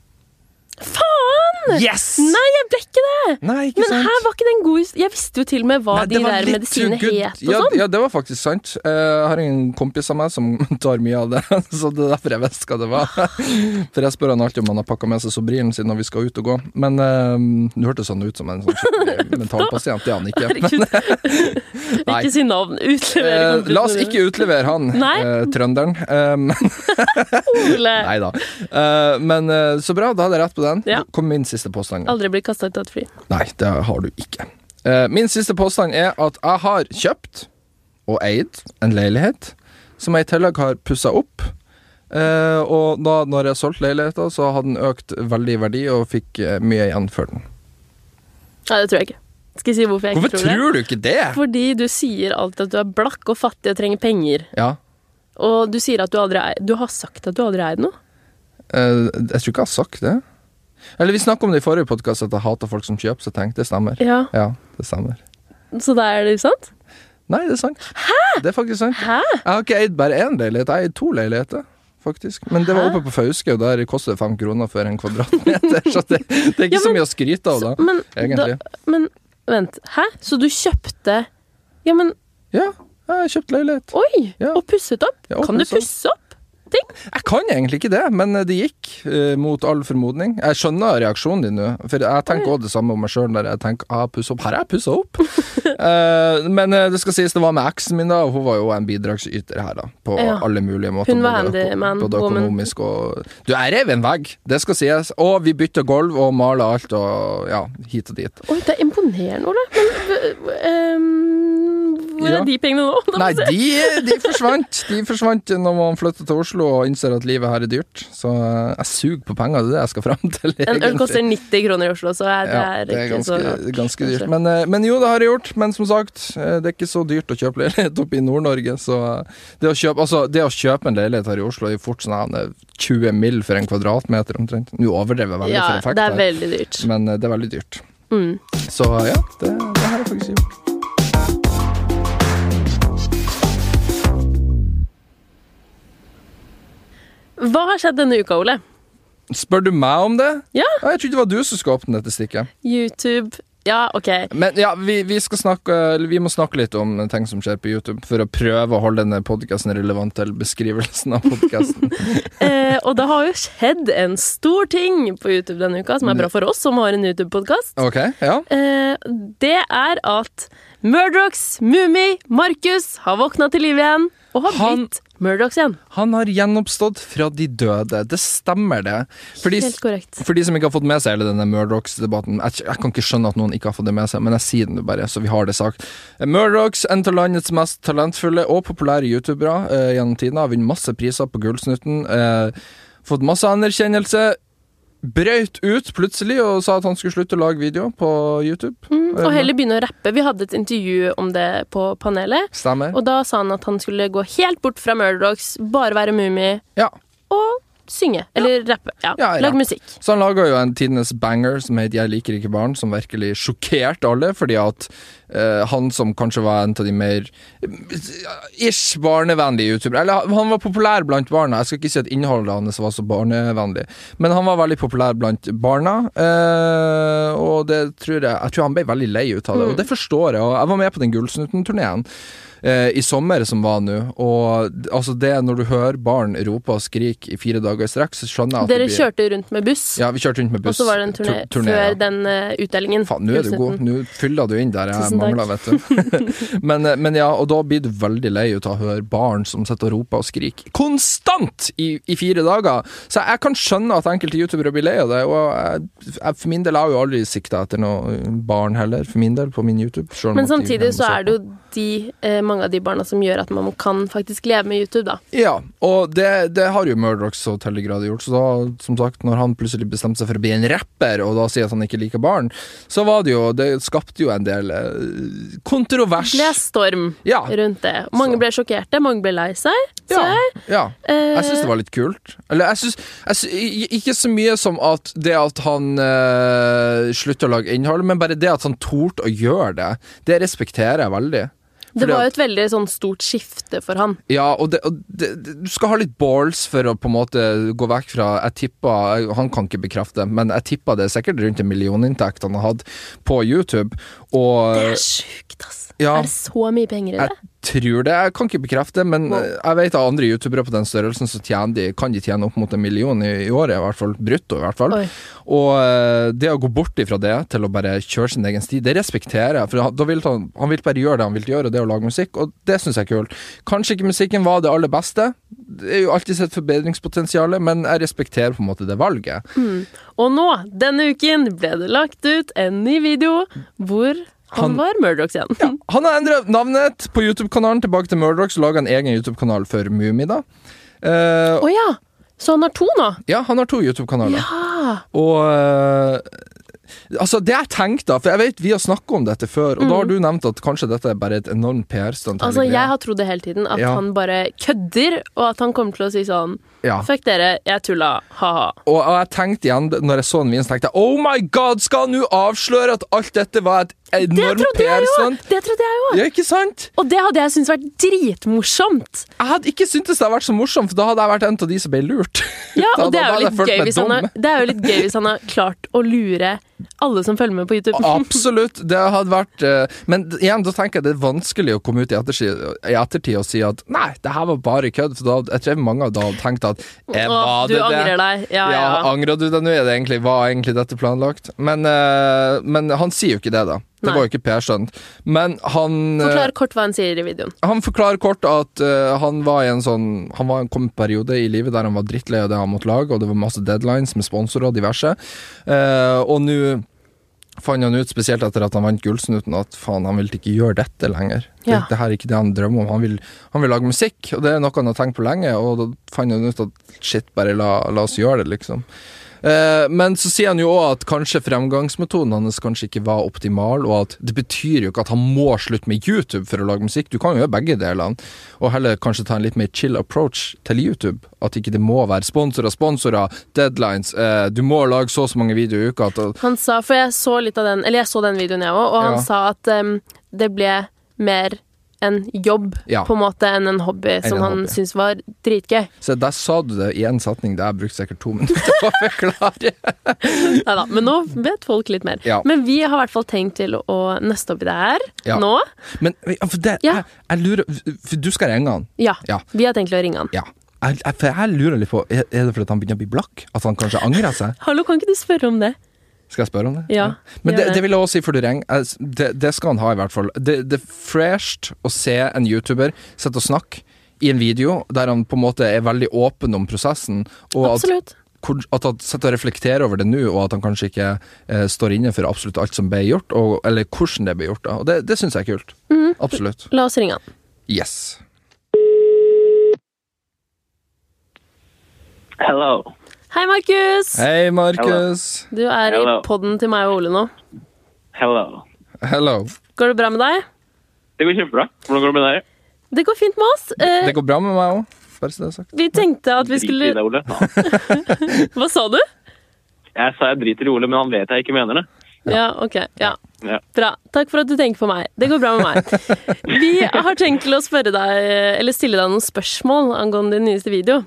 A: Faen!
B: Yes!
A: Nei, jeg ble ikke det!
B: Nei, ikke
A: Men
B: sant?
A: her var ikke den gode his- Jeg visste jo til og med hva
B: Nei,
A: de
B: det var
A: der
B: litt
A: medisinene
B: too good.
A: het og
B: ja,
A: sånn.
B: Ja, det var faktisk sant. Eh, Jeg har en kompis av meg som tar mye av det, så det er derfor jeg visste hva det var. For jeg spør han alltid om han har pakka med seg Sobrilen sin når vi skal ut og gå, men eh, du hørtes sånn ut som en sånn skikkelig mentalpasient, det er han ikke.
A: Herregud.
B: Nei.
A: ikke si navn. Utlever
B: Eh,
A: kompisen
B: la oss
A: din.
B: ikke utlevere han,
A: Nei.
B: eh, trønderen. Um,
A: Ole.
B: nei da. Eh, men eh, så bra, da hadde jeg rett på den.
A: Ja.
B: Kom min siste påstand.
A: Aldri bli kasta ut av et fly.
B: Nei, det har du ikke. Eh, min siste påstand er at jeg har kjøpt og eid en leilighet som jeg i tillegg har pussa opp. Eh, og da når jeg solgte leiligheten, så hadde den økt veldig i verdi og fikk eh, mye igjen for den.
A: Nei, det tror jeg ikke. Skal jeg si hvorfor jeg ikke
B: Hvorfor
A: tror det?
B: tror du ikke det?
A: Fordi du sier alltid at du er blakk og fattig og trenger penger.
B: Ja,
A: Og du sier at du aldri er Du har sagt at du aldri eid noe.
B: Eh, jeg tror ikke jeg har sagt det. Eller vi snakka om det i forrige podkast, at jeg hater folk som kjøper, så jeg tenkte det stemmer.
A: Ja.
B: Ja, det stemmer.
A: Så da er det usant?
B: Nei, det er sant. Hæ? Det er faktisk sant.
A: Hæ?
B: Jeg har ikke eid bare én leilighet, jeg har eid to leiligheter. faktisk. Men det var
A: Hæ?
B: oppe på Fauske, og der koster det fem kroner for en kvadratmeter. Så det, det er ikke
A: Ja,
B: så
A: men-
B: mye å skryte av,
A: Så,
B: da.
A: men,
B: Egentlig.
A: Da, men vent, hæ? Så du kjøpte Ja, men
B: Ja, jeg har kjøpt leilighet.
A: oi!
B: Ja.
A: Og pusset opp?
B: Ja, og
A: kan du
B: pusset opp.
A: pusse opp ting?
B: Jeg kan egentlig ikke det, men det gikk, eh, mot all formodning. Jeg skjønner reaksjonen din nå, for jeg tenker òg det samme om meg sjøl der jeg tenker ah, puss opp. Her har jeg pussa opp! Eh, men eh, det skal sies, det var med eksen min, da, og hun var jo en bidragsyter her, da. På
A: Ja.
B: alle mulige måter.
A: Hun var
B: både øko-
A: handyman,
B: Både
A: woman.
B: økonomisk og Du, jeg rev en vegg, det skal sies. Og vi bytta gulv og mala alt, og ja, hit og dit.
A: Oi, det er imponerende, Ole. Men eh, hvor
B: Ja.
A: er de pengene nå? Da må
B: Nei,
A: jeg se.
B: de, de forsvant De forsvant når man flyttet til Oslo og innser at livet her er dyrt. Så eh, jeg suger på penger, det er det jeg skal fram til.
A: En øl
B: egentlig.
A: koster 90 kroner i Oslo, så er det,
B: Ja, det er
A: ikke så
B: ganske, ganske
A: kanskje.
B: dyrt. Men, eh, men jo, det har jeg gjort. Men som sagt, eh, det er ikke så dyrt å kjøpe leilighet oppe i Nord-Norge. Så eh, det å, kjøpe, altså, det å kjøpe en leilighet her i Oslo er jo fort sånn eh, 20 mill. for en kvadratmeter omtrent. Nå overdrev jeg veldig
A: Ja,
B: for effekt,
A: det er
B: her,
A: veldig dyrt.
B: men eh, det er veldig dyrt.
A: Mm.
B: Så ja, det, det har jeg faktisk gjort.
A: Hva har skjedd denne uka, Ole?
B: Spør du meg om det?
A: Ja.
B: Jeg trodde det var du som skulle åpne dette stikket.
A: YouTube Ja, OK.
B: Men ja, vi, vi, skal snakke, eller vi må snakke litt om ting som skjer på YouTube, for å prøve å holde denne podkasten relevant til beskrivelsen av podkasten.
A: Eh, og det har jo skjedd en stor ting på YouTube denne uka, som er bra for oss som har en YouTube-podkast.
B: ok, ja.
A: Eh, det er at Murdochs Mummi Markus har våkna til liv igjen og har
B: Han-
A: blitt Murdochs igjen.
B: Han har gjenoppstått fra de døde. Det stemmer, det. For de,
A: Helt korrect.
B: for de som ikke har fått med seg hele denne Murdochs-debatten jeg, jeg kan ikke skjønne at noen ikke har fått det med seg, men jeg sier det nå bare, så vi har det sagt. Murdochs, en av landets mest talentfulle og populære youtubere eh, gjennom tiden, har vunnet masse priser på Gullsnutten. Eh, fått masse anerkjennelse. Brøyt ut plutselig og sa at han skulle slutte å lage video på YouTube.
A: Mm, og heller begynne å rappe. Vi hadde et intervju om det på panelet.
B: Stemmer.
A: Og da sa han at han skulle gå helt bort fra Murdochs, bare være Mummi
B: Ja.
A: og synge. Eller rappe. Ja,
B: Ja, ja.
A: lag musikk.
B: Så han laga jo en tidenes banger som het 'Jeg liker ikke barn', som virkelig sjokkerte alle, fordi at eh, han som kanskje var en av de mer eh, ish barnevennlige youtubere Eller han var populær blant barna, jeg skal ikke si at innholdet hans var så barnevennlig, men han var veldig populær blant barna, eh, og det tror jeg Jeg tror han ble veldig lei ut av det, og det forstår jeg, og jeg var med på den Gullsnutten-turneen eh, i sommer som var nå, og d- altså det når du hører barn rope og skrike i fire dager i strekk, så skjønner jeg at det
A: Dere
B: blir
A: kjørte rundt med buss.
B: ja, vi kjørte rundt med
A: Og
B: buss.
A: så var det en turné,
B: Tu- turné, ja.
A: før den eh, utdelingen.
B: Faen, nå er du god.
A: Gullsnutten.
B: Nå fyller du inn der jeg
A: Tusen takk.
B: mangler, vet du. men, eh, men ja, og da blir du veldig lei ut av å høre barn som sitter og roper og skriker konstant i, i fire dager. Så jeg kan skjønne at enkelte youtubere blir lei av det, og jeg, jeg, for min del har jeg jo aldri sikta etter noe barn heller, for min del, på min YouTube. selv om
A: Men
B: at de
A: samtidig
B: gjerne
A: så
B: må se
A: er det jo de, eh, mange av de barna som gjør at man kan faktisk leve med YouTube, da.
B: Ja, og det, det har jo Murdoch så til de grader gjort. Så da, som sagt, når han plutselig bestemte seg for å bli en rapper, og da sier at han ikke liker barn, så var det jo Det skapte jo en del eh, kontrovers.
A: Det er storm
B: Ja.
A: rundt det. Mange
B: Så.
A: ble sjokkerte, mange ble lei seg.
B: Ja,
A: Så jeg,
B: ja.
A: eh,
B: Jeg syns det var litt kult. Eller jeg syns jeg sy- i- Ikke så mye som at det at han uh, slutter å lage innhold, men bare det at han torde å gjøre det, det respekterer jeg veldig.
A: det
B: fordi
A: var
B: at-
A: jo et veldig sånn stort skifte for han.
B: Ja, og, det, og det, det, du skal ha litt balls for å på en måte gå vekk fra Jeg tipper, jeg- Han kan ikke bekrefte, men jeg tipper det er sikkert rundt en millioninntekt han har hatt på YouTube.
A: Det
B: Og
A: er sjukt, ass.
B: Eh, ja.
A: Er det så mye penger i det?
B: jeg tror det. Jeg kan ikke bekrefte, men
A: Wow.
B: jeg vet av andre youtubere på den størrelsen så tjener de, kan de tjene opp mot en million i, i året, i hvert fall brutto. i hvert fall.
A: Oi.
B: Og eh, det å gå bort ifra det til å bare kjøre sin egen sti, det respekterer jeg. For han, da vil han, han vil bare gjøre det han vil gjøre, og det er å lage musikk, og det syns jeg er kult. Kanskje ikke musikken var det aller beste, det er jo alltid et forbedringspotensial, men jeg respekterer på en måte det valget.
A: Og nå, denne uken, ble det lagt ut en ny video hvor han,
B: Han-
A: var Murdoch igjen.
B: Han har endret navnet på YouTube-kanalen tilbake til Murdoch, så laga en egen YouTube-kanal for Mumi, da. Eh,
A: Å ja! Så han har to nå?
B: ja, han har to YouTube-kanaler.
A: Ja!
B: Og eh, Altså, det jeg tenkte, da, for jeg vet vi har snakka om dette før, og da har du nevnt at kanskje dette er bare et enormt PR-stunt.
A: Mm. Altså,
B: hele greia.
A: jeg har trodd det hele tiden, at
B: Ja.
A: han bare kødder, og at han kommer til å si sånn
B: Ja.
A: Fuck dere, jeg tulla, ha-ha.
B: og, og jeg tenkte igjen, når jeg så den videoen, så tenkte jeg Oh my god, skal han nå avsløre at alt dette var et enorm
A: trodde jeg jo!
B: PR-stunt.
A: Det trodde jeg jo!
B: Ja, ikke sant?
A: Og det hadde jeg syntes vært dritmorsomt.
B: Jeg hadde ikke syntes det hadde vært så morsomt, for da hadde jeg vært en av de som ble lurt.
A: Ja,
B: Da-
A: og det
B: da
A: er, jo
B: hadde jeg
A: litt
B: følt
A: gøy
B: meg
A: hvis han har,
B: dum.
A: det er jo litt gøy hvis han har klart å lure alle som følger med på YouTube.
B: Absolutt. Det hadde vært eh, Men d- igjen, da tenker jeg det er vanskelig å komme ut i ettertid, i ettertid og si at nei, det her var bare kødd. For da, hadde- jeg tror mange av da hadde tenkt at eh,
A: Åh,
B: var
A: du
B: det
A: angrer
B: det?
A: deg. Ja,
B: Ja,
A: ja.
B: angrer du deg nå? Er det egentlig, var egentlig dette planlagt? Men, eh, men han sier jo ikke det, da. Det
A: Nei.
B: var jo ikke Per skjønt. Men han eh,
A: Forklar kort hva han sier i videoen.
B: Han forklarer kort at eh, han var i en sånn Han var i en kom en periode i livet der han var drittlei av det han måtte lage, og det var masse deadlines med sponsorer og diverse. Eh, og nå fant han ut, spesielt etter at han vant Gullsnuten, at faen, han ville ikke gjøre dette lenger.
A: Ja.
B: Det, det her er ikke det han drømmer om. Han vil, han vil lage musikk, og det er noe han har tenkt på lenge, og da fant han ut at shit, bare la, la oss gjøre det, liksom. Eh, Men så sier han jo òg at kanskje fremgangsmetoden hans kanskje ikke var optimal, og at det betyr jo ikke at han må slutte med YouTube for å lage musikk. Du kan jo gjøre begge delene, og heller kanskje ta en litt mer chill approach til YouTube. At ikke det må være sponsorer, sponsorer, deadlines. eh, Du må lage så og så mange videoer i uka. At,
A: Han sa, for jeg så litt av den Eller jeg så den videoen, jeg òg, og han
B: Ja.
A: sa at em, det ble mer en jobb
B: Ja.
A: på en måte enn en hobby som
B: en
A: han
B: hobby.
A: syntes var dritgøy.
B: så der sa du det i en setning der jeg brukte sikkert to minutter på å forklare.
A: Neida, Men nå vet folk litt mer.
B: Ja.
A: Men vi har i hvert fall tenkt til å nøste opp i det her
B: Ja.
A: nå.
B: Men ja, for det,
A: Ja.
B: jeg, jeg lurer For du skal ringe han?
A: Ja.
B: Ja.
A: Vi har tenkt til å ringe han.
B: Ja. Jeg, jeg, for jeg lurer litt på Er er det fordi han begynner å bli blakk? At han kanskje angrer seg?
A: Hallo, kan ikke du spørre om det?
B: Skal jeg spørre om det?
A: Ja,
B: Men
A: gjør
B: det,
A: det.
B: det vil jeg også si for Dureng. Jeg s- Det, det skal han ha, i hvert fall. Det, det er fresht å se en YouTuber sitte og snakke i en video der han på en måte er veldig åpen om prosessen, og at,
A: Absolutt.
B: hvor- at han sitter og reflekterer over det nå, og at han kanskje ikke eh, står inne for absolutt alt som ble gjort, og, eller hvordan det ble gjort. Da. Og det, det syns jeg er kult.
A: Mhm.
B: Absolutt.
A: La oss ringe han.
B: Yes.
C: Hello.
A: Hei, Markus!
B: Hei, Markus.
A: Du er
C: Hello.
A: i podden til meg og Ole nå.
C: Hello.
B: Hello.
A: Går det bra med deg?
C: Det går kjempebra. Hvordan går det med deg?
A: Det går fint med oss. Eh,
B: Det går bra med meg òg, bare så det er sagt.
A: vi tenkte at vi skulle
C: Driter i deg, Ole.
A: Hva sa du?
C: Jeg sa jeg driter i Ole, men han vet jeg ikke mener det.
A: Ja, OK. Ja.
C: Ja.
A: Bra. Takk for at du tenker på meg. Det går bra med meg. Vi har tenkt til å spørre deg, eller stille deg noen spørsmål angående din nyeste video.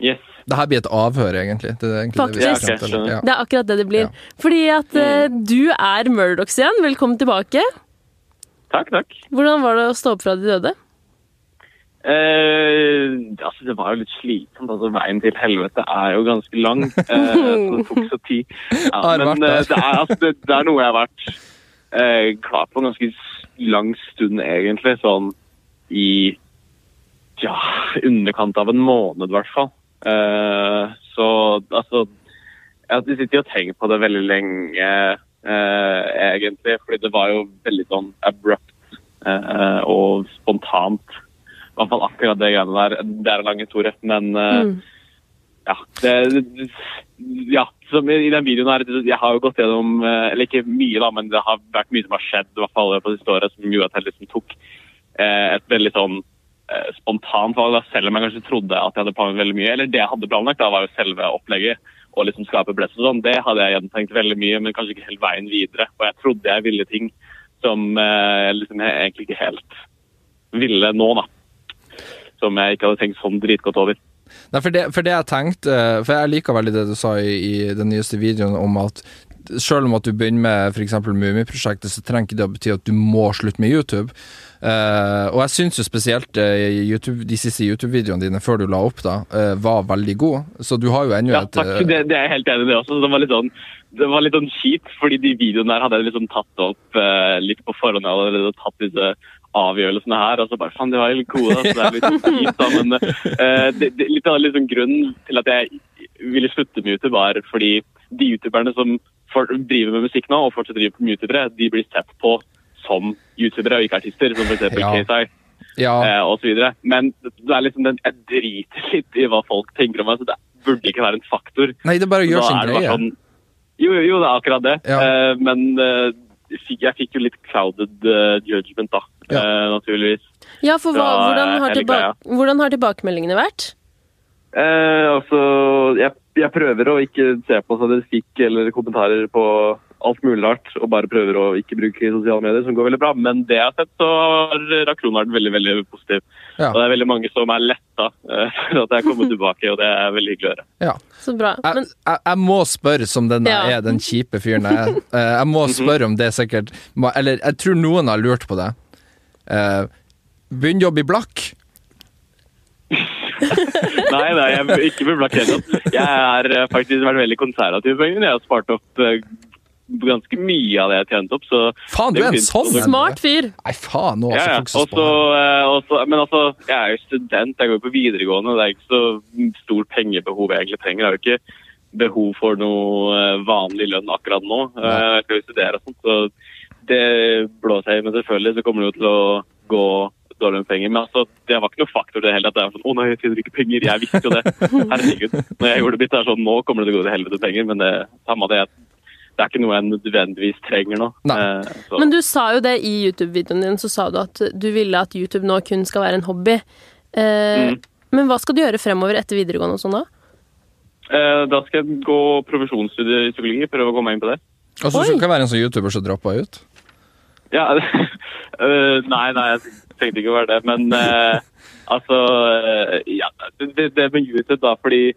C: Yes.
B: Det her blir et avhør, egentlig. Det er egentlig det vi
A: Faktisk.
B: skal frem til.
C: Ja, ok, skjønner.
B: Ja.
A: Det er akkurat det det blir.
B: Ja. Mm.
A: Fordi at eh, du er Murdochs igjen. Velkommen tilbake.
C: Takk, takk.
A: Hvordan var det å stå opp fra de døde?
C: Eh, altså, det var jo litt slitsomt. Altså, veien til helvete er jo ganske lang. Eh, så det tok så tid. Ja,
B: Har vært
C: men
B: der.
C: eh, det, er, altså, det, det er noe jeg har vært eh, klar på en ganske s- lang stund, egentlig. Sånn i ja, underkant av en måned, i hvert fall. Eh, så altså Jeg sitter jo og tenker på det veldig lenge, eh, egentlig. Fordi det var jo veldig sånn abrupt eh, og spontant. I hvert fall akkurat det greiene der. Det er en lang historie, men eh,
A: Mm.
C: ja, det, det- ja, som i i den videoen her, det- jeg har jo gått gjennom, eh, eller ikke mye da, men det har vært mye som har skjedd, i hvert fall på det siste året, som gjorde at jeg liksom tok eh, et veldig sånn eh, spontant valg, da, selv om jeg kanskje trodde at jeg hadde planlagt veldig mye, eller det jeg hadde planlagt da, var jo selve opplegget, og liksom skape blest og sånn, det hadde jeg gjentenkt veldig mye, men kanskje ikke helt veien videre, og jeg trodde jeg ville ting som eh, liksom jeg egentlig ikke helt ville nå da, som jeg ikke hadde tenkt sånn dritgodt over.
B: Nei, for det, for det jeg tenkte eh, For jeg liker veldig det du sa i, i den nyeste videoen om at selv om at du begynner med f.eks. Mummiprosjektet, så trenger ikke det å bety at du må slutte med YouTube. Eh, og jeg syns jo spesielt eh, YouTube, de siste YouTube-videoene dine før du la opp, da, eh, var veldig gode. Så du har jo ennå
C: Ja,
B: et
C: takk.
B: eh,
C: Det, det er jeg helt enig i, det også. Det var litt sånn, det var litt sånn kjipt, fordi de videoene der hadde jeg liksom tatt opp eh, litt på forhånd. Jeg hadde allerede tatt disse avgjørelsene her, og så bare faen, det var jo litt gode. Så det er litt sånn kjipt, da. Men eh, det, det, litt av liksom grunnen til at jeg ville slutte med YouTube, var fordi de youtuberne som for, driver med musikk nå, og fortsatt driver med youtubere, de blir sett på som youtubere og ikke artister, som f.eks.
B: Ja.
C: Ja. KSI
B: Ja,
C: eh, og så videre. Men det er liksom den, jeg driter litt i hva folk tenker om meg, så det burde ikke være en faktor.
B: nei, det er bare å gjøre
C: Da
B: sin
C: er det
B: greie.
C: bare sånn- Jo, jo, jo, det er akkurat det.
B: Ja.
C: Eh, men eh, jeg fikk- jeg fikk jo litt crowded eh, judgment, da.
B: Ja.
C: Eh, naturligvis.
A: Ja, for hva,
C: Fra,
A: hvordan, har
C: eh,
A: tilba
C: Helga,
A: hvordan har tilbakemeldingene vært?
C: Eh, altså, jeg, jeg prøver å ikke se på statistikk eller kommentarer på alt mulig rart og bare prøver å ikke bruke sosiale medier, som går veldig bra. Men det jeg har sett, så har Rakron vært veldig veldig positiv.
B: Ja.
C: Og det er veldig mange som er letta eh, for at jeg kommer tilbake, og det er veldig hyggelig å høre.
B: Ja.
A: Så bra.
B: Jeg,
A: Men
B: jeg, jeg må spørre som den jeg
A: Ja.
B: er, den kjipe fyren jeg er. Eh, Jeg må
C: Mhm.
B: spørre om det sikkert må- Eller jeg tror noen har lurt på det. Eh, Begynn jobb i Blakk.
C: Nei, nei, jeg er ikke beblakk heller. Jeg har eh, faktisk vært veldig konservativ på pengene. Jeg har spart opp eh, ganske mye av det jeg har tjent opp, så
B: Faen, du
C: Det
B: er
C: er
B: en
C: fint.
B: sånn en, du.
A: smart fyr.
B: Nei, faen nå,
C: Ja, ja.
B: altså, fokus på
C: Og
B: det.
C: så, eh, og så- men altså, jeg er jo student, jeg går på videregående. og Det er ikke så stort pengebehov jeg egentlig trenger. Jeg har jo ikke behov for noe eh, vanlig lønn akkurat nå. Eh, Jeg skal jo studere og sånt, så det blåser jeg i. Men selvfølgelig så kommer det jo til å gå dårlig med penger. Men altså, det var ikke noe faktor det heller. At det var sånn, å nei, jeg tjener ikke penger. Jeg visste jo det. Herregud. Når jeg gjorde det mitt, er det sånn, nå kommer det til å gå til helvete penger. Men det, samme det, det er ikke noe jeg nødvendigvis trenger nå.
B: Nei.
C: Eh, så-
A: Men du sa jo det i YouTube-videoen din, så sa du at du ville at YouTube nå kun skal være en hobby. Eh,
C: Mm.
A: Men hva skal du gjøre fremover etter videregående og sånn, da?
C: Eh, Da skal jeg gå profesjonsstudier i psykologi, prøve å komme meg inn på det.
B: Og så
A: Oi.
B: skal du være en sånn YouTuber som dropper ut.
C: Ja, eh, nei, nei, jeg tenkte ikke å være det, men eh, altså eh, ja, det, det med YouTube, da, fordi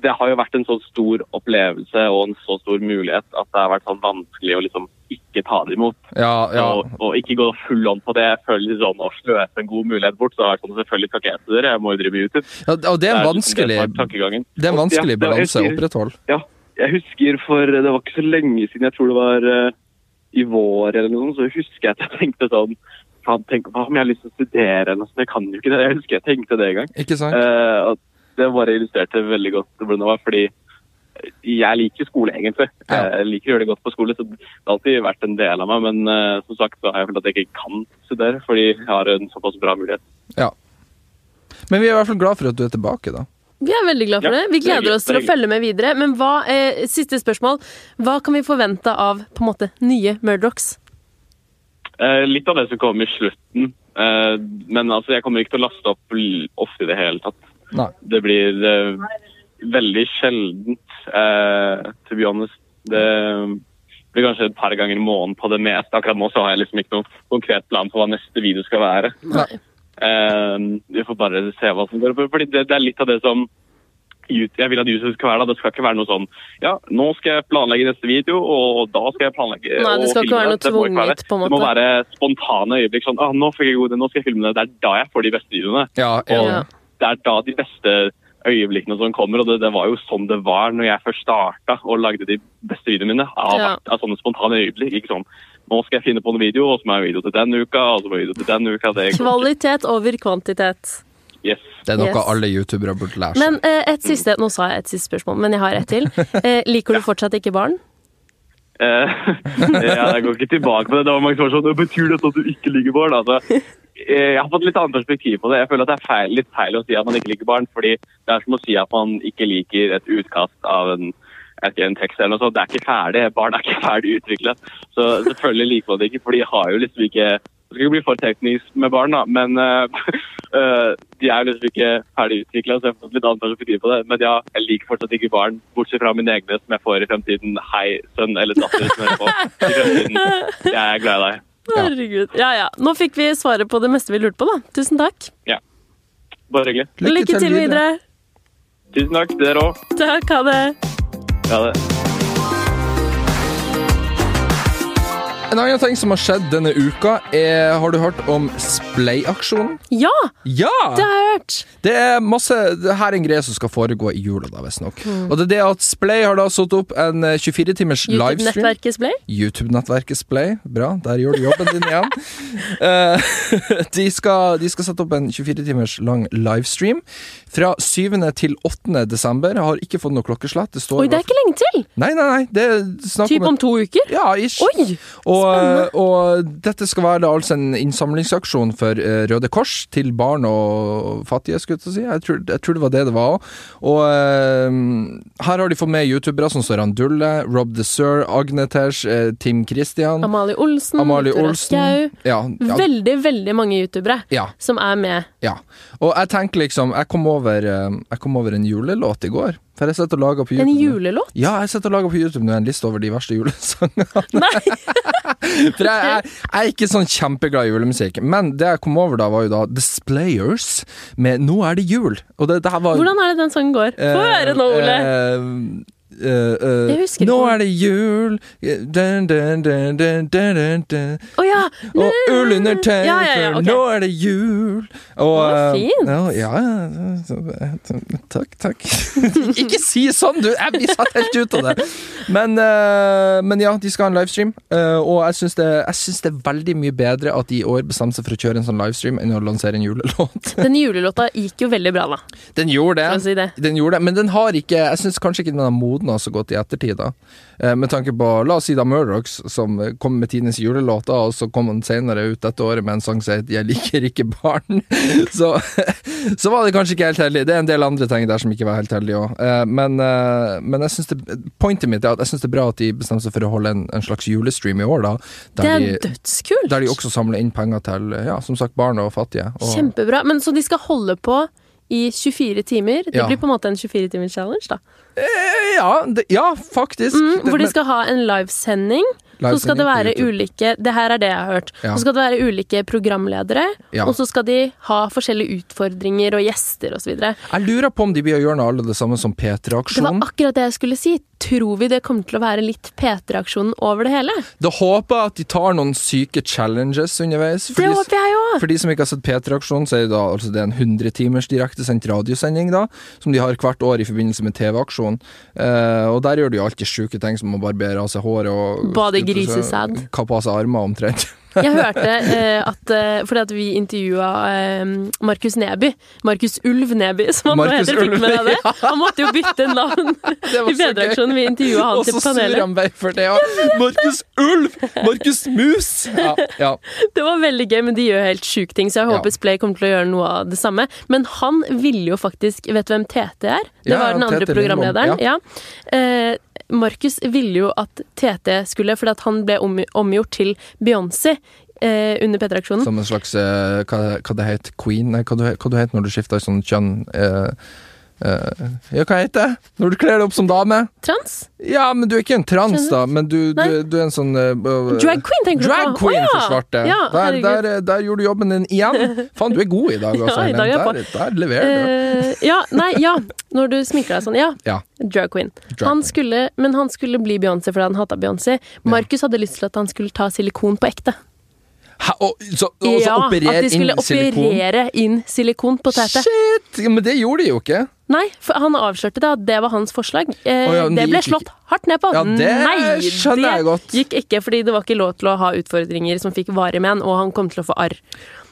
C: det har jo vært en så stor opplevelse og en så stor mulighet at det har vært sånn vanskelig å liksom ikke ta det imot.
B: Ja, ja.
C: Og, og ikke gå full on på det. Jeg føler litt sånn å sløse en god mulighet bort. Så har jeg sånn, selvfølgelig skal ikke jeg studere, jeg må jo drive med YouTube.
B: ja og det er en vanskelig,
C: Det er tankegangen.
B: det er en vanskelig
C: Ja, det var- jeg
B: balanse å
C: sier-
B: opprettholde.
C: Ja, jeg husker for Det var ikke så lenge siden, jeg tror det var eh, i vår eller noe, sånt, så husker jeg at jeg tenkte sånn Faen, tenk hva om jeg har lyst til å studere eller noe sånt? Jeg kan jo ikke det. Jeg husker jeg tenkte det en gang.
B: Ikke sant?
C: Eh, og det bare illustrerte veldig godt hvordan det var, fordi jeg liker skole, egentlig. Eh,
B: Ja.
C: Jeg liker å gjøre det godt på skole, så det har alltid vært en del av meg. Men eh, som sagt så har jeg følt at jeg ikke kan studere, fordi jeg har en såpass bra mulighet.
B: Ja. Men vi er i hvert fall glad for at du er tilbake, da.
A: Vi er veldig glad for
C: Ja,
A: det. Vi
C: det er
A: gleder
C: hyggelig,
A: oss til å
C: det er
A: følge med videre. Men hva, eh, siste spørsmål. Hva kan vi forvente av på en måte nye Murdochs?
C: Eh, litt av det som kom i slutten. eh, men altså, jeg kommer ikke til å laste opp l- ofte i det hele tatt.
B: Nei.
C: Det blir eh, veldig sjeldent, eh, to be honest. Det blir kanskje et par ganger i måneden på det meste. Akkurat nå så har jeg liksom ikke noen konkret plan for hva neste video skal være.
B: Nei.
C: Eh, vi får bare se hva som går opp. Fordi det, det er litt av det som YouTube- jeg vil at YouTube skal være da. Det skal ikke være noe sånn Ja, nå skal jeg planlegge neste video, og da skal jeg planlegge
A: Nei, det
C: og
A: skal ikke
C: filme
A: være noe
C: Det må ikke være
A: tvunget,
C: det.
A: på en
C: Det må
A: måte.
C: være spontane øyeblikk. Sånn ah, 'Nå fikk jeg god idé, nå skal jeg filme det.' Det er da jeg får de beste videoene
B: Ja,
C: Og
B: enig.
C: det er da de beste øyeblikkene som kommer, og det, det var jo sånn det var når jeg først starta og lagde de beste videoene mine. Av,
A: Ja.
C: av sånne spontane øyeblikk. Ikke sånn nå skal jeg finne på en video, og så må jeg ha video til den uka, og så må jeg ha video til den uka. Det går ikke.
A: Kvalitet over kvantitet.
C: yes.
B: Det er noe
A: Yes.
B: alle youtubere burde lære seg.
A: Men eh, et siste Nå sa jeg et siste spørsmål, men jeg har et til. Eh, liker du fortsatt ikke barn?
C: Eh, ja, jeg går ikke tilbake på det. Det var mange som var sånn «Hva Betyr dette at du ikke liker barn? Altså, eh, jeg har fått litt annet perspektiv på det. Jeg føler at det er feil, litt feil å si at man ikke liker barn, fordi det er som å si at man ikke liker et utkast av en jeg vet ikke, en tekst eller noe sånt. Det er ikke ferdig. Barn er ikke ferdig utviklet. Så selvfølgelig liker man det ikke, for de har jo liksom ikke Det skal ikke bli for teknisk med barn, da, men eh, eh, de er jo liksom ikke ferdig utvikla, så jeg har fått litt annet perspektiv på det. Men ja, jeg liker fortsatt ikke barn, bortsett fra mine egne som jeg får i fremtiden. Hei, sønn eller datter som hører på. I fremtiden. Jeg er glad i deg.
A: Herregud. Ja ja. Nå fikk vi svaret på det meste vi lurte på, da. Tusen takk.
C: Bare hyggelig.
A: Lykke, til videre.
C: Tusen takk, dere òg.
A: Takk, ha det.
C: Ha det.
B: En annen ting som har skjedd denne uka, er Har du hørt om Splay-aksjonen?
A: Ja,
B: Ja!
A: det har jeg hørt.
B: Det er masse det her er en greie som skal foregå i jula, da, visstnok.
A: Hmm.
B: Og det er det at Splay har da satt opp en eh, 24-timers livestream.
A: YouTube-nettverket Splay.
B: YouTube-nettverket Splay. Bra, der gjør du jobben din igjen. Eh, de, skal, de skal sette opp en 24 timers lang livestream fra 7. til 8. desember. Jeg har ikke fått noe klokkeslett. Det står
A: Oi,
B: i
A: det er
B: hvert
A: ikke lenge til.
B: fall- Nei, nei, nei. Det er snakk
A: Typ
B: om
A: om
B: et
A: to uker.
B: ja, ish.
A: Oi!
B: Og, eh, og dette skal være da altså en innsamlingsaksjon for eh, Røde Kors til barn og fattige, skulle jeg til å si. Jeg tror, jeg tror det var det det var òg. Og eh, her har de fått med youtubere som Randulle, Rob Desir, Agnetesh, eh, Tim Christian,
A: Amalie Olsen.
B: Amalie
A: Victoria
B: Olsen.
A: Schau.
B: Ja, ja,
A: Veldig, veldig mange youtubere
B: ja,
A: som er med.
B: ja. Og jeg tenker liksom Jeg kom over, eh, jeg kom over en julelåt i går, For jeg sitter og lager på
A: En
B: YouTube. nå.
A: julelåt?
B: Ja, jeg sitter og lager på YouTube nå en liste over de verste julesangene.
A: Nei!
B: For jeg, jeg, jeg er ikke sånn kjempeglad i julemusikk. Men det jeg kom over da, var jo da Displayers med 'Nå er det jul'. Og det, det her var
A: Hvordan er det den sangen går? Få høre nå, Ole.
B: Eh, eh, eh,
A: Jeg husker
B: Nå
A: ikke.
B: er det jul eh, dun, dun, dun, dun, dun, dun, dun.
A: Å ja!
B: Og ull under tøyet,
A: Ja, ja, ja, ok.
B: nå er det jul. Og,
A: Å,
B: eh,
A: fint.
B: Ja, ja, ja, så- takk, takk. Ikke si sånn, du! Jeg blir satt helt ut av det. Men, eh, men ja, de skal ha en livestream, eh, og jeg syns det, jeg synes det er veldig mye bedre at de i år bestemte seg for å kjøre en sånn livestream enn å lansere en julelåt.
A: Den julelåta gikk jo veldig bra, da.
B: Den gjorde
A: For å
B: det.
A: si det.
B: Den gjorde det, Men den har ikke jeg syns kanskje ikke den har modna så godt i ettertid. da eh, Med tanke på la oss si da Murdochs, som eh, kom med tidenes julelåter, og så kom han senere ut dette året med en sang som het 'Jeg liker ikke barn'. så, så var det kanskje ikke helt heldig. Det er en del andre ting der som ikke var helt heldige òg. Eh, men, eh, men jeg synes det pointet mitt er at jeg syns det er bra at de bestemte seg for å holde en, en slags julestream i år, da. Der,
A: Det er
B: de,
A: dødskult!
B: der de også samler inn penger til eh, ja, som sagt barn og fattige. Og,
A: Kjempebra. Men så de skal holde på i 24 timer? Det
B: Ja.
A: blir på en måte en 24-timers challenge, da.
B: ja, det, ja, faktisk.
A: Mm,
B: Det-
A: hvor de
B: men-
A: skal ha en livesending. Så skal det
B: Livesending på
A: være
B: YouTube.
A: ulike Det her er det jeg har hørt.
B: Ja.
A: Så skal det være ulike programledere,
B: Ja.
A: og så skal de ha forskjellige utfordringer og gjester osv. Det
B: Jeg lurer på om de blir å gjøre noe alle det samme som
A: var
B: P3-aksjonen. Det,
A: akkurat det jeg skulle si. Tror vi det kommer til å være litt P3-aksjon over det hele?
B: håper jeg at de tar noen syke challenges underveis. For,
A: Det
B: de,
A: håper jeg òg!
B: for de som ikke har sett P3-aksjonen, så er det, da, altså det er en 100 timers direktesendt radiosending da, som de har hvert år i forbindelse med TV-aksjonen. Eh, og der gjør de jo alltid syke ting som å barbere av seg håret og
A: Bade i grisesæd.
B: Kappe av seg armer omtrent.
A: Jeg hørte eh, at eh, Fordi at vi intervjua eh, Markus Neby. Markus Ulv Neby, som han nå
B: Markus
A: heter. Fikk du med deg det?
B: Ulv, ja.
A: Han måtte jo bytte navn
B: Det var
A: i
B: så gøy.
A: P3-aksjonen. Vi intervjua han
B: Og så
A: til
B: sur
A: panelet.
B: han meg for det. Ja. Markus Ulv! Markus Mus! Ja, ja.
A: Det var veldig gøy, men de gjør helt sjuke ting, så jeg
B: Ja.
A: håper Splay kommer til å gjøre noe av det samme. Men han ville jo faktisk Vet du hvem Tete er? Det
B: Ja,
A: var den
B: ja,
A: andre
B: Tete Lindbom,
A: programlederen. Ja. Eh, Markus ville jo at Tete skulle, fordi at han ble om, omgjort til Beyoncé eh, under P3-aksjonen.
B: Som en slags eh, hva, hva det heter Queen? Nei, hva, du, hva du heter når du skifter sånn kjønn? eh, eh, ja, hva heter det? Når du kler deg opp som dame?
A: Trans?
B: Ja, men du er ikke en trans, da, men du, du,
A: Nei.
B: du er en sånn eh, eh,
A: Drag queen, tenker du
B: Drag
A: på?
B: queen
A: Å, ja.
B: for svarte.
A: Ja,
B: der,
A: herregud.
B: der, eh, der gjorde du jobben din igjen. Faen, du er god i dag, altså.
A: Ja, i dag er jeg
B: Helen. der, der leverer du.
A: Eh, ja, nei, ja. Når du sminker deg sånn, ja.
B: Ja.
A: Drag queen.
B: Drag
A: han
B: queen.
A: skulle, men han skulle bli Beyoncé fordi han hata Beyoncé. Markus hadde lyst til at han skulle ta silikon på ekte.
B: Hæ, og så, og så
A: ja,
B: operer
A: At de
B: inn
A: skulle
B: silikon?
A: operere inn silikon på tete.
B: Shit! Ja, Men det gjorde de jo ikke.
A: Nei, for han avslørte det, at det var hans forslag. Eh,
B: Å ja, men
A: det
B: det
A: ble
B: gikk
A: slått
B: ikke.
A: hardt ned på.
B: Ja, det
A: Nei,
B: skjønner jeg godt.
A: Det gikk ikke, fordi det var ikke lov til å ha utfordringer som fikk varige menn, og han kom til å få arr.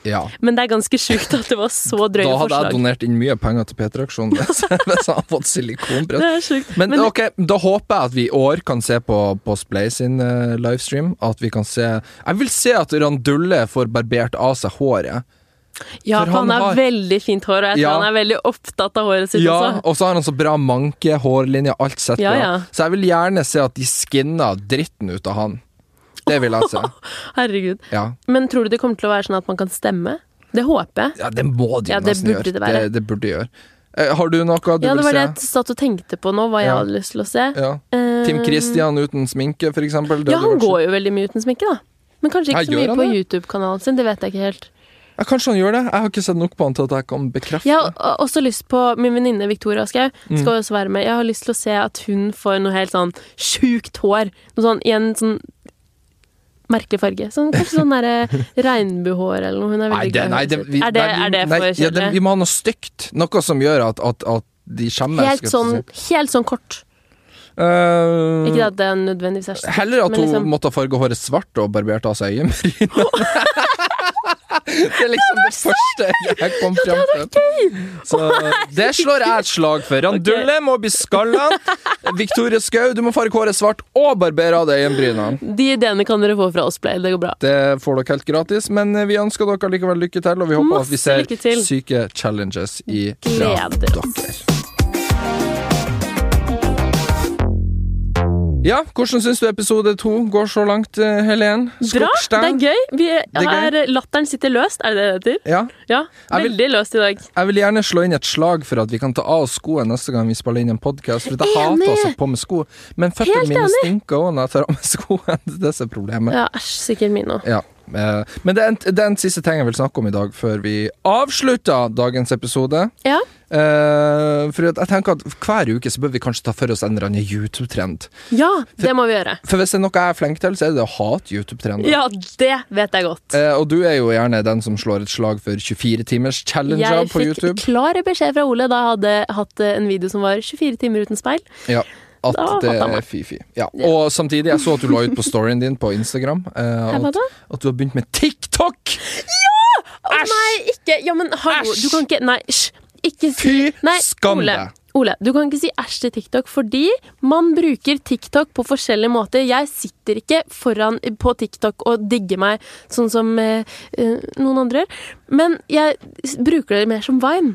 B: Ja.
A: Men det er ganske sjukt at det var så drøye
B: Da hadde jeg
A: forslag.
B: donert inn mye penger til P3-aksjonen hvis jeg hadde fått silikonbrett.
A: Det er sjukt.
B: Men,
A: Men-
B: ok, da håper jeg at vi i år kan se på, på Splay sin eh, livestream. At vi kan se Jeg vil se at Randulle får barbert av seg håret.
A: Ja,
B: For
A: for han
B: han
A: har
B: har-
A: veldig fint hår, og jeg tror
B: Ja.
A: han er veldig opptatt av håret sitt
B: Ja,
A: også.
B: og så har han så bra manke, hårlinje, alt sett
A: Ja,
B: bra.
A: ja.
B: Så jeg vil gjerne se at de skinner dritten ut av han. Det vil jeg se.
A: Herregud.
B: Ja,
A: Men tror du det kommer til å være sånn at man kan stemme? Det håper jeg.
B: ja det må de
A: Ja,
B: jo
A: det
B: nesten
A: burde
B: gjøre.
A: det være.
B: Det, det burde de gjøre. Eh, har du noe du
A: Ja, det
B: vil
A: var det
B: se?
A: jeg satt og tenkte på nå, hva jeg
B: Ja.
A: hadde lyst til å se.
B: Ja.
A: Eh,
B: Tim Christian uten sminke, for eksempel. Det
A: Ja,
B: hadde
A: han
B: vært
A: går jo veldig mye uten sminke, da. Men kanskje
B: Ja,
A: ikke så
B: gjør
A: mye
B: han
A: på
B: det?
A: YouTube-kanalen sin, det vet jeg ikke helt.
B: så- ja, Kanskje han gjør det? Jeg har ikke sett nok på han til at jeg kan bekrefte
A: Jeg har o- også lyst på Min venninne Victoria Aschhaug
B: Mm.
A: skal også være med. Jeg har lyst til å se at hun får noe helt sånn sjukt hår. Noe sånn i en sånn merkelig farge. Sånn, kanskje sånn derre regnbuehår eller noe. Hun er
B: Nei,
A: veldig
B: det,
A: glad i
B: nei,
A: håret
B: det,
A: sitt.
B: vi,
A: Er det,
B: nei, vi-
A: er det
B: nei,
A: for
B: ja, det, Vi
A: kjedelig?
B: må ha noe stygt. Noe som gjør at, at, at de skjemmer.
A: Helt sånn, helt sånn kort.
B: Mm.
A: Ikke at det er nødvendigvis er så
B: Eh, Heller at
A: men
B: hun
A: liksom-
B: måtte farge håret svart og barbert av seg øyenbrynene. det er liksom det første
A: altså-
B: jeg kom fram til. Så det slår jeg et slag for. Randulle må bli skalla. Victoria Skau, du må farge håret svart og barbere av deg øyenbrynene.
A: De ideene kan dere få fra oss, Play. Det går bra.
B: Det får dere helt gratis, men eh, vi ønsker dere likevel lykke til, og vi håper at vi
A: Masse
B: ser
A: lykke til.
B: syke challenges i
A: Gleder
B: kraft
A: oss.
B: dere. Ja, hvordan syns du episode to går så langt, eh, Helen?
A: Bra! Det er gøy. Vi
B: er gøy.
A: er, latteren sitter løst, er det det det heter?
B: Ja,
A: Ja.
B: Jeg vil-
A: Veldig løst i dag.
B: jeg vil gjerne slå inn et slag for at vi kan ta av oss skoene neste gang vi spiller inn en podkast, for jeg hater
A: Enig.
B: å sitte på med sko. Men føttene
A: Helt
B: mine
A: enig.
B: stinker òg når jeg tar av meg skoene. Det er problemet.
A: Ja, æsj, sikkert min òg.
B: Ja. eh, Men det er, en, det er en siste ting jeg vil snakke om i dag, før vi avslutter dagens episode.
A: Ja.
B: Eh, for at jeg tenker at Hver uke så bør vi kanskje ta for oss en eller annen YouTube-trend.
A: ja, det må vi gjøre.
B: For hvis det er noe jeg er flink til, så er det å hate YouTube-trender.
A: Ja, det vet jeg godt.
B: Eh, og du er jo gjerne den som slår et slag for 24-timers-challenger
A: Jeg
B: på
A: fikk
B: YouTube.
A: klar beskjed fra Ole da jeg hadde hatt eh, en video som var 24 timer uten speil.
B: Ja, at
A: Da hater
B: det
A: jeg
B: er
A: meg.
B: fy-fy. Ja. Og samtidig, jeg så at du la ut på storyen din på Instagram eh,
A: hva
B: at,
A: da?
B: at du har begynt med TikTok!
A: Å, Nei, ikke Ja, men hallo,
B: Æsj!
A: du kan ikke Nei, æsj. Ikke si
B: Fy
A: nei,
B: skam
A: Ole.
B: deg!
A: Ole, du kan ikke si æsj til TikTok, fordi man bruker TikTok på forskjellige måter. Jeg sitter ikke foran på TikTok og digger meg sånn som eh, eh, noen andre gjør. Men jeg s- bruker det mer som Vine.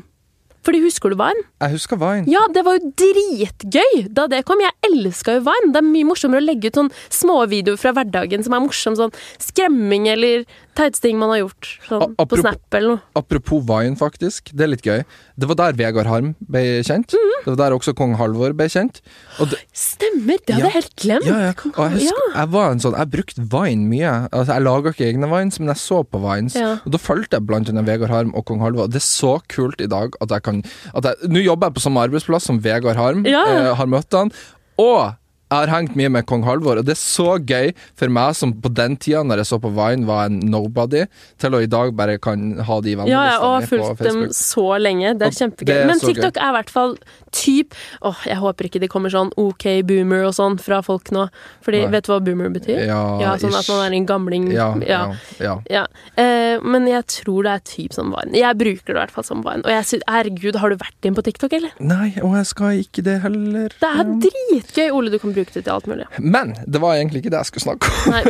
A: Fordi husker du Vine?
B: Jeg husker Vine.
A: Ja, det var jo dritgøy da det kom. Jeg elska jo Vine. Det er mye morsommere å legge ut sånn småvideoer fra hverdagen som er morsom, sånn skremming eller teiteste ting man har gjort sånn,
B: A-
A: på
B: apropos-
A: Snap eller noe.
B: Apropos Vine, faktisk. Det er litt gøy. Det var der Vegard Harm ble kjent.
A: Mhm.
B: Det var der også kong Halvor ble kjent. Og det,
A: Stemmer! Det hadde
B: Ja.
A: jeg helt glemt.
B: ja, ja. Og jeg, husker, jeg var en sånn Jeg brukte Vine mye. Altså, jeg laga ikke egne Vines, men jeg så på Vines.
A: Ja.
B: Og da fulgte jeg blant annet Vegard Harm og kong Halvor. Og det er så kult i dag at jeg kan at jeg, Nå jobber jeg på samme arbeidsplass som Vegard Harm.
A: Ja.
B: Eh, har møtt han. Og jeg har hengt mye med kong Halvor, og det er så gøy for meg som på den tida, når jeg så på Vine, var en nobody, til å i dag bare kan ha de vennene
A: Ja, ja, og har
B: på
A: fulgt dem
B: Facebook.
A: så lenge. Det
B: Og
A: er kjempegøy.
B: det er
A: Men
B: så gøy.
A: TikTok er i hvert fall typ Åh, jeg håper ikke det kommer sånn OK boomer og sånn fra folk nå. Fordi,
B: Nei.
A: vet du hva boomer betyr?
B: Ja,
A: Sånn at
B: ish.
A: man er en gamling.
B: Ja,
A: ja.
B: ja, ja.
A: Ja, eh, men jeg tror det er typ som Vine. Jeg bruker det i hvert fall som Vine. Og jeg synes, herregud, har du vært inn på TikTok, eller?
B: Nei, og jeg skal ikke det heller.
A: Det er dritgøy! Ole, du kan bruke det til alt mulig.
B: Men det var egentlig ikke det jeg skulle snakke om.
A: Nei,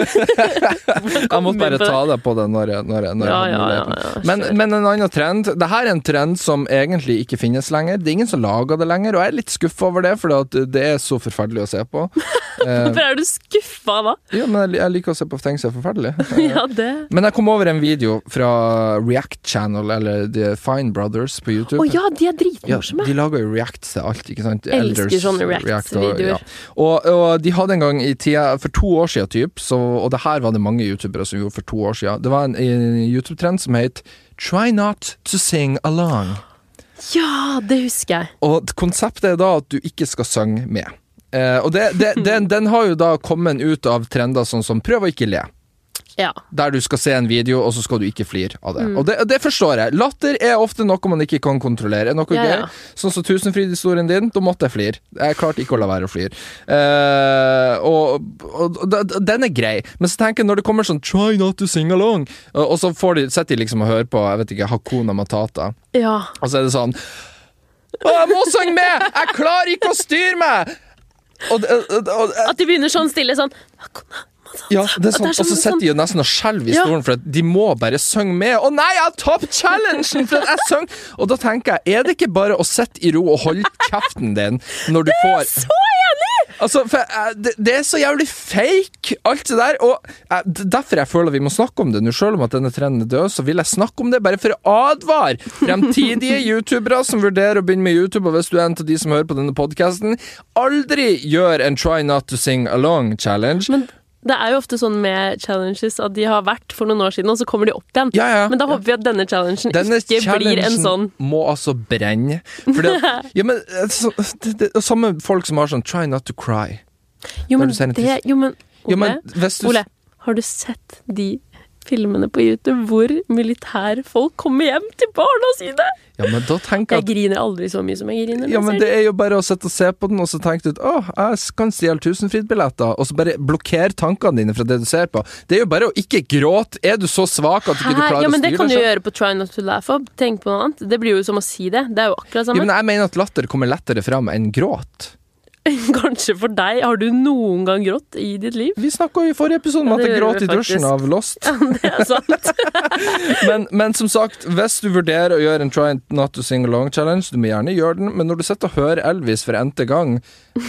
B: Jeg måtte bare
A: inn på det.
B: ta det på det når jeg, når jeg, når jeg
A: Ja,
B: hadde
A: ja, ja,
B: muligheten.
A: ja,
B: men,
A: kjør.
B: men en annen trend Dette er en trend som egentlig ikke finnes lenger. Det er ingen som lager det lenger, og jeg er litt skuffa over det, for det er så forferdelig å se på. eh,
A: hvorfor er du skuffa da?
B: Ja, men jeg, jeg liker å se på ting som er forferdelig.
A: Ja, det
B: Men jeg kom over en video fra React Channel, eller The Fine Brothers på YouTube.
A: Å ja, de er
B: Ja,
A: dritmorsomme!
B: de lager jo Reacts til alt, ikke sant?
A: Elsker sånne
B: og-
A: Reacts-videoer.
B: ja. Og, og de hadde en gang i tida, for to år siden typ, så, og det her var det mange youtubere som gjorde for to år siden, det var en, en YouTube-trend som het Try not to sing along.
A: Ja, det husker jeg.
B: Og konseptet er da at du ikke skal synge med. Eh, og det, det, den, den har jo da kommet ut av trender sånn som prøv å ikke le.
A: Ja.
B: Der du skal se en video, og så skal du ikke flire av
A: Mm.
B: det. Og det, og det forstår jeg. Latter er ofte noe man ikke kan kontrollere. Er Noe
A: Ja, ja.
B: gøy. Sånn som Tusenfryd-historien din, da måtte jeg flire. Jeg klarte ikke å la være å flire. Eh, og, og, og d- d- den er grei, men så tenker jeg når det kommer sånn 'try not to sing along', og, og så får de, sitter de liksom og hører på jeg vet ikke, Hakuna Matata,
A: ja.
B: og så er det sånn 'Å, jeg må synge med! Jeg klarer ikke å styre meg!' Og, det- og, og,
A: At de begynner sånn stille sånn Hakuna Matata.
B: ja, det er
A: At
B: sånn, og så sitter de jo nesten og skjelver i
A: Ja.
B: stolen, for at de må bare synge med. Å nei, jeg har tapt challengen! For at jeg sang Og da tenker jeg, er det ikke bare å sitte i ro og holde kjeften din når du får
A: Så enig!
B: Altså, for jeg, det, det er så jævlig fake, alt det der. Og jeg, d- derfor jeg føler vi må snakke om det nå. Selv om at denne trenden er død, så vil jeg snakke om det bare for å advare fremtidige youtubere som vurderer å begynne med YouTube, og hvis du er en av de som hører på denne podkasten, aldri gjør en try not to sing along challenge.
A: Men det er jo ofte sånn med challenges at de har vært for noen år siden, og så kommer de opp igjen.
B: Ja, ja.
A: Men da håper vi at denne challengen
B: Denne
A: ikke blir en sånn
B: må altså brenne. Fordi at, ja, men, eh, så, det, det, og samme folk som har sånn 'try not to cry'.
A: Jo,
B: Der
A: men
B: du ser en
A: det Jo, men Ole,
B: Jo, men hvis du,
A: Ole har du sett de filmene på YouTube hvor militærfolk kommer hjem til barna sine?
B: ja, men da tenker
A: Jeg
B: jeg at
A: griner aldri så mye som jeg griner. når
B: ja,
A: jeg
B: men
A: ser
B: Det er jo bare å sitte og se på den og så tenke ut 'Å, jeg kan stjele tusenfryd-billetter', og så bare blokkere tankene dine fra det du ser på. Det er jo bare å ikke gråte. Er du så svak at du ikke
A: Hæ?
B: klarer
A: ja, men
B: å
A: Det
B: styre
A: kan du
B: deg? selv?
A: gjøre på Try Not To Laugh Up. Tenk på noe annet. Det blir jo som å si det. Det er jo akkurat
B: Ja,
A: samme.
B: men jeg mener at latter kommer lettere fram enn gråt.
A: Kanskje for deg. Har du noen gang grått i ditt liv?
B: Vi snakka i forrige episode
A: Ja,
B: om at
A: det gjorde
B: jeg gråt
A: vi
B: i dusjen
A: faktisk.
B: av Lost.
A: Det er sånn. sant.
B: Men, men som sagt, hvis du vurderer å gjøre en Try Not To Sing Along Challenge, du må gjerne gjøre den, men når du sitter og hører Elvis for n-te gang,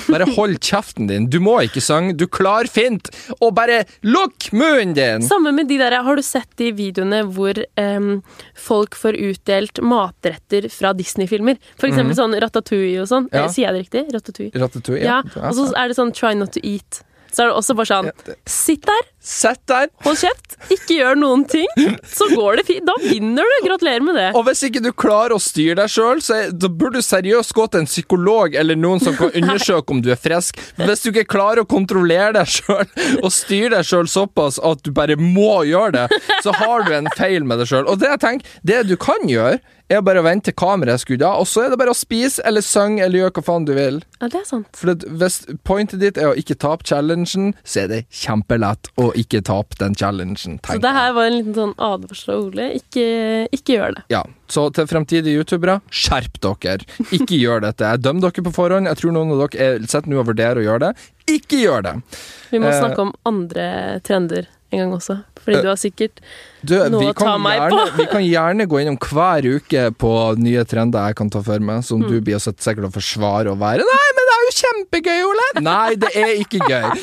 B: bare hold kjeften din. Du må ikke synge, du klarer fint! Og bare lukk munnen din!
A: Samme med de der, Har du sett de videoene hvor em, folk får utdelt matretter fra Disney-filmer? For eksempel sånn Ratatouille og sånn.
B: Mm. Ja.
A: Eh, Sier jeg det riktig? Ratatouille.
B: Ratatouille.
A: Ja,
B: Ja.
A: Og så er det sånn try not to eat. Så er det også bare sånn Sitt der,
B: Sett der!
A: hold kjeft, ikke gjør noen ting, så går det fint. Da vinner du! Gratulerer med det.
B: Og hvis ikke du klarer å styre deg sjøl, da burde du seriøst gå til en psykolog eller noen som kan undersøke om du er frisk. Hvis du ikke klarer å kontrollere deg sjøl og styre deg sjøl såpass at du bare må gjøre det, så har du en feil med deg sjøl. Og det jeg tenker, det du kan gjøre, er bare å vente til kameraet skrur av, og så er det bare å spise eller synge eller gjøre hva faen du vil.
A: Ja, det er sant.
B: For at hvis pointet ditt er å ikke tape challengen, så er det kjempelett å ikke tape den challengen.
A: Så
B: tenker
A: det
B: jeg.
A: her var en liten sånn advarsel av Ole. Ikke, ikke gjør det.
B: Ja, så til fremtidige youtubere, skjerp dere. Ikke gjør dette. Jeg dømmer dere på forhånd. Jeg tror noen av dere er- sitter nå og vurderer å gjøre det. Ikke gjør det!
A: Vi må
B: Eh,
A: snakke om andre trender en gang også. Fordi du har sikkert
B: Du,
A: Noe
B: vi,
A: å ta
B: kan
A: meg
B: gjerne, vi kan gjerne gå innom hver uke på nye trender jeg kan ta for meg,
A: Mm.
B: som du blir sitt sikkert å forsvare og være Nei, men det er jo kjempegøy, Ole! Nei, det er ikke gøy.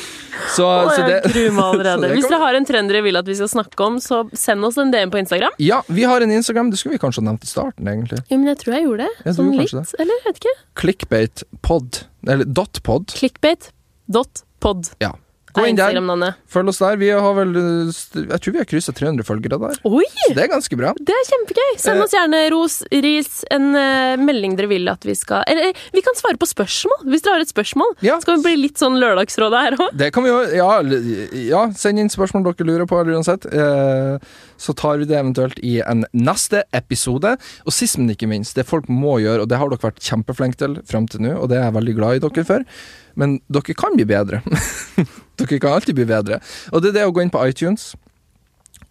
B: Så,
A: Å,
B: så
A: jeg
B: altså, det
A: gruer meg
B: så
A: allerede.
B: det
A: Hvis
B: kommer-
A: dere har en trend dere vil at vi skal snakke om, så send oss en DM på Instagram.
B: Ja, vi har en Instagram. Det skulle vi kanskje ha nevnt i starten, egentlig.
A: Jo, men jeg tror jeg gjorde det.
B: Ja, du
A: sånn
B: gjorde
A: litt.
B: kanskje
A: Eller jeg vet ikke.
B: Clickbate-pod. Eller dotpod.
A: Clickbait.pod
B: Ja. Gå
A: er
B: inn der.
A: Instagram-navnet.
B: Følg oss der. Vi har vel uh, st- Jeg tror vi har kryssa 300 følgere der.
A: Oi!
B: Så det er ganske bra.
A: Det er kjempegøy! Send
B: Eh.
A: oss gjerne ros, ris, en eh, melding dere vil at vi skal Eller eh, vi kan svare på spørsmål! Hvis dere har et spørsmål.
B: Ja.
A: Skal vi bli litt sånn Lørdagsrådet her òg?
B: Det kan vi jo Ja, eller- ja send inn spørsmål dere lurer på, eller uansett. Eh, så tar vi det eventuelt i en neste episode. Og sist, men ikke minst, det folk må gjøre, og det har dere vært kjempeflinke til fram til nå, og det er jeg veldig glad i dere for, men dere kan bli bedre. dere kan alltid bli bedre. Og det er det å gå inn på iTunes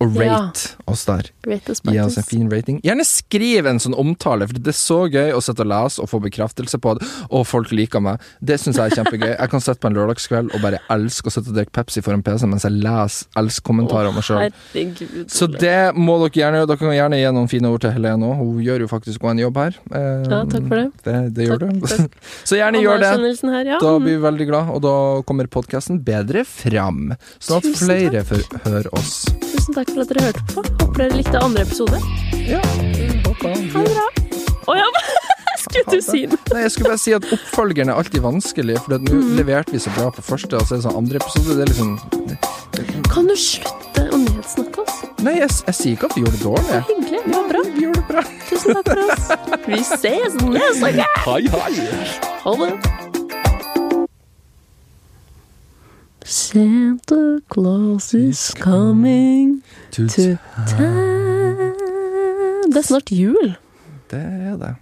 B: og
A: Ja.
B: rate oss der. Gi oss en fin rating. Gjerne skriv en sånn omtale, for det er så gøy å sitte og lese og få bekreftelse på at å, folk liker meg. Det syns jeg er kjempegøy. Jeg kan sitte på en lørdagskveld og bare elske å sitte og drikke Pepsi foran PC-en mens jeg leser elsk-kommentarer om meg sjøl.
A: Herregud.
B: Så
A: Ole.
B: det må dere gjerne gjøre. Dere kan gjerne gi noen fine ord til Helene òg. Hun gjør jo faktisk også en jobb her. Eh,
A: Ja, takk for det.
B: Det, det gjør
A: Takk,
B: du. Så gjerne gjør det.
A: Anerkjennelsen Her, ja. Mm.
B: Da blir vi veldig glad, og da kommer podkasten bedre fram. Sånn at
A: Tusen
B: flere får høre oss.
A: Tusen takk for at dere hørte på. Håper dere likte andre episode.
B: Ja, håper jeg.
A: Ha det bra. Å ja, skulle du si noe?
B: Nei, jeg skulle bare si at oppfølgeren er alltid vanskelig, for at nå leverte vi så bra på første, og så er det sånn andre episode. Det er liksom
A: Kan du slutte å nyhetssnakke oss?
B: Nei, jeg, jeg sier ikke at vi gjorde det dårlig.
A: Hyggelig. Det var bra.
B: Vi gjorde det bra.
A: Tusen takk for oss. Vi ses neste gang.
B: Hei, hei.
A: Ha det. Santa Claus is coming to town. Det er snart jul.
B: Det er det.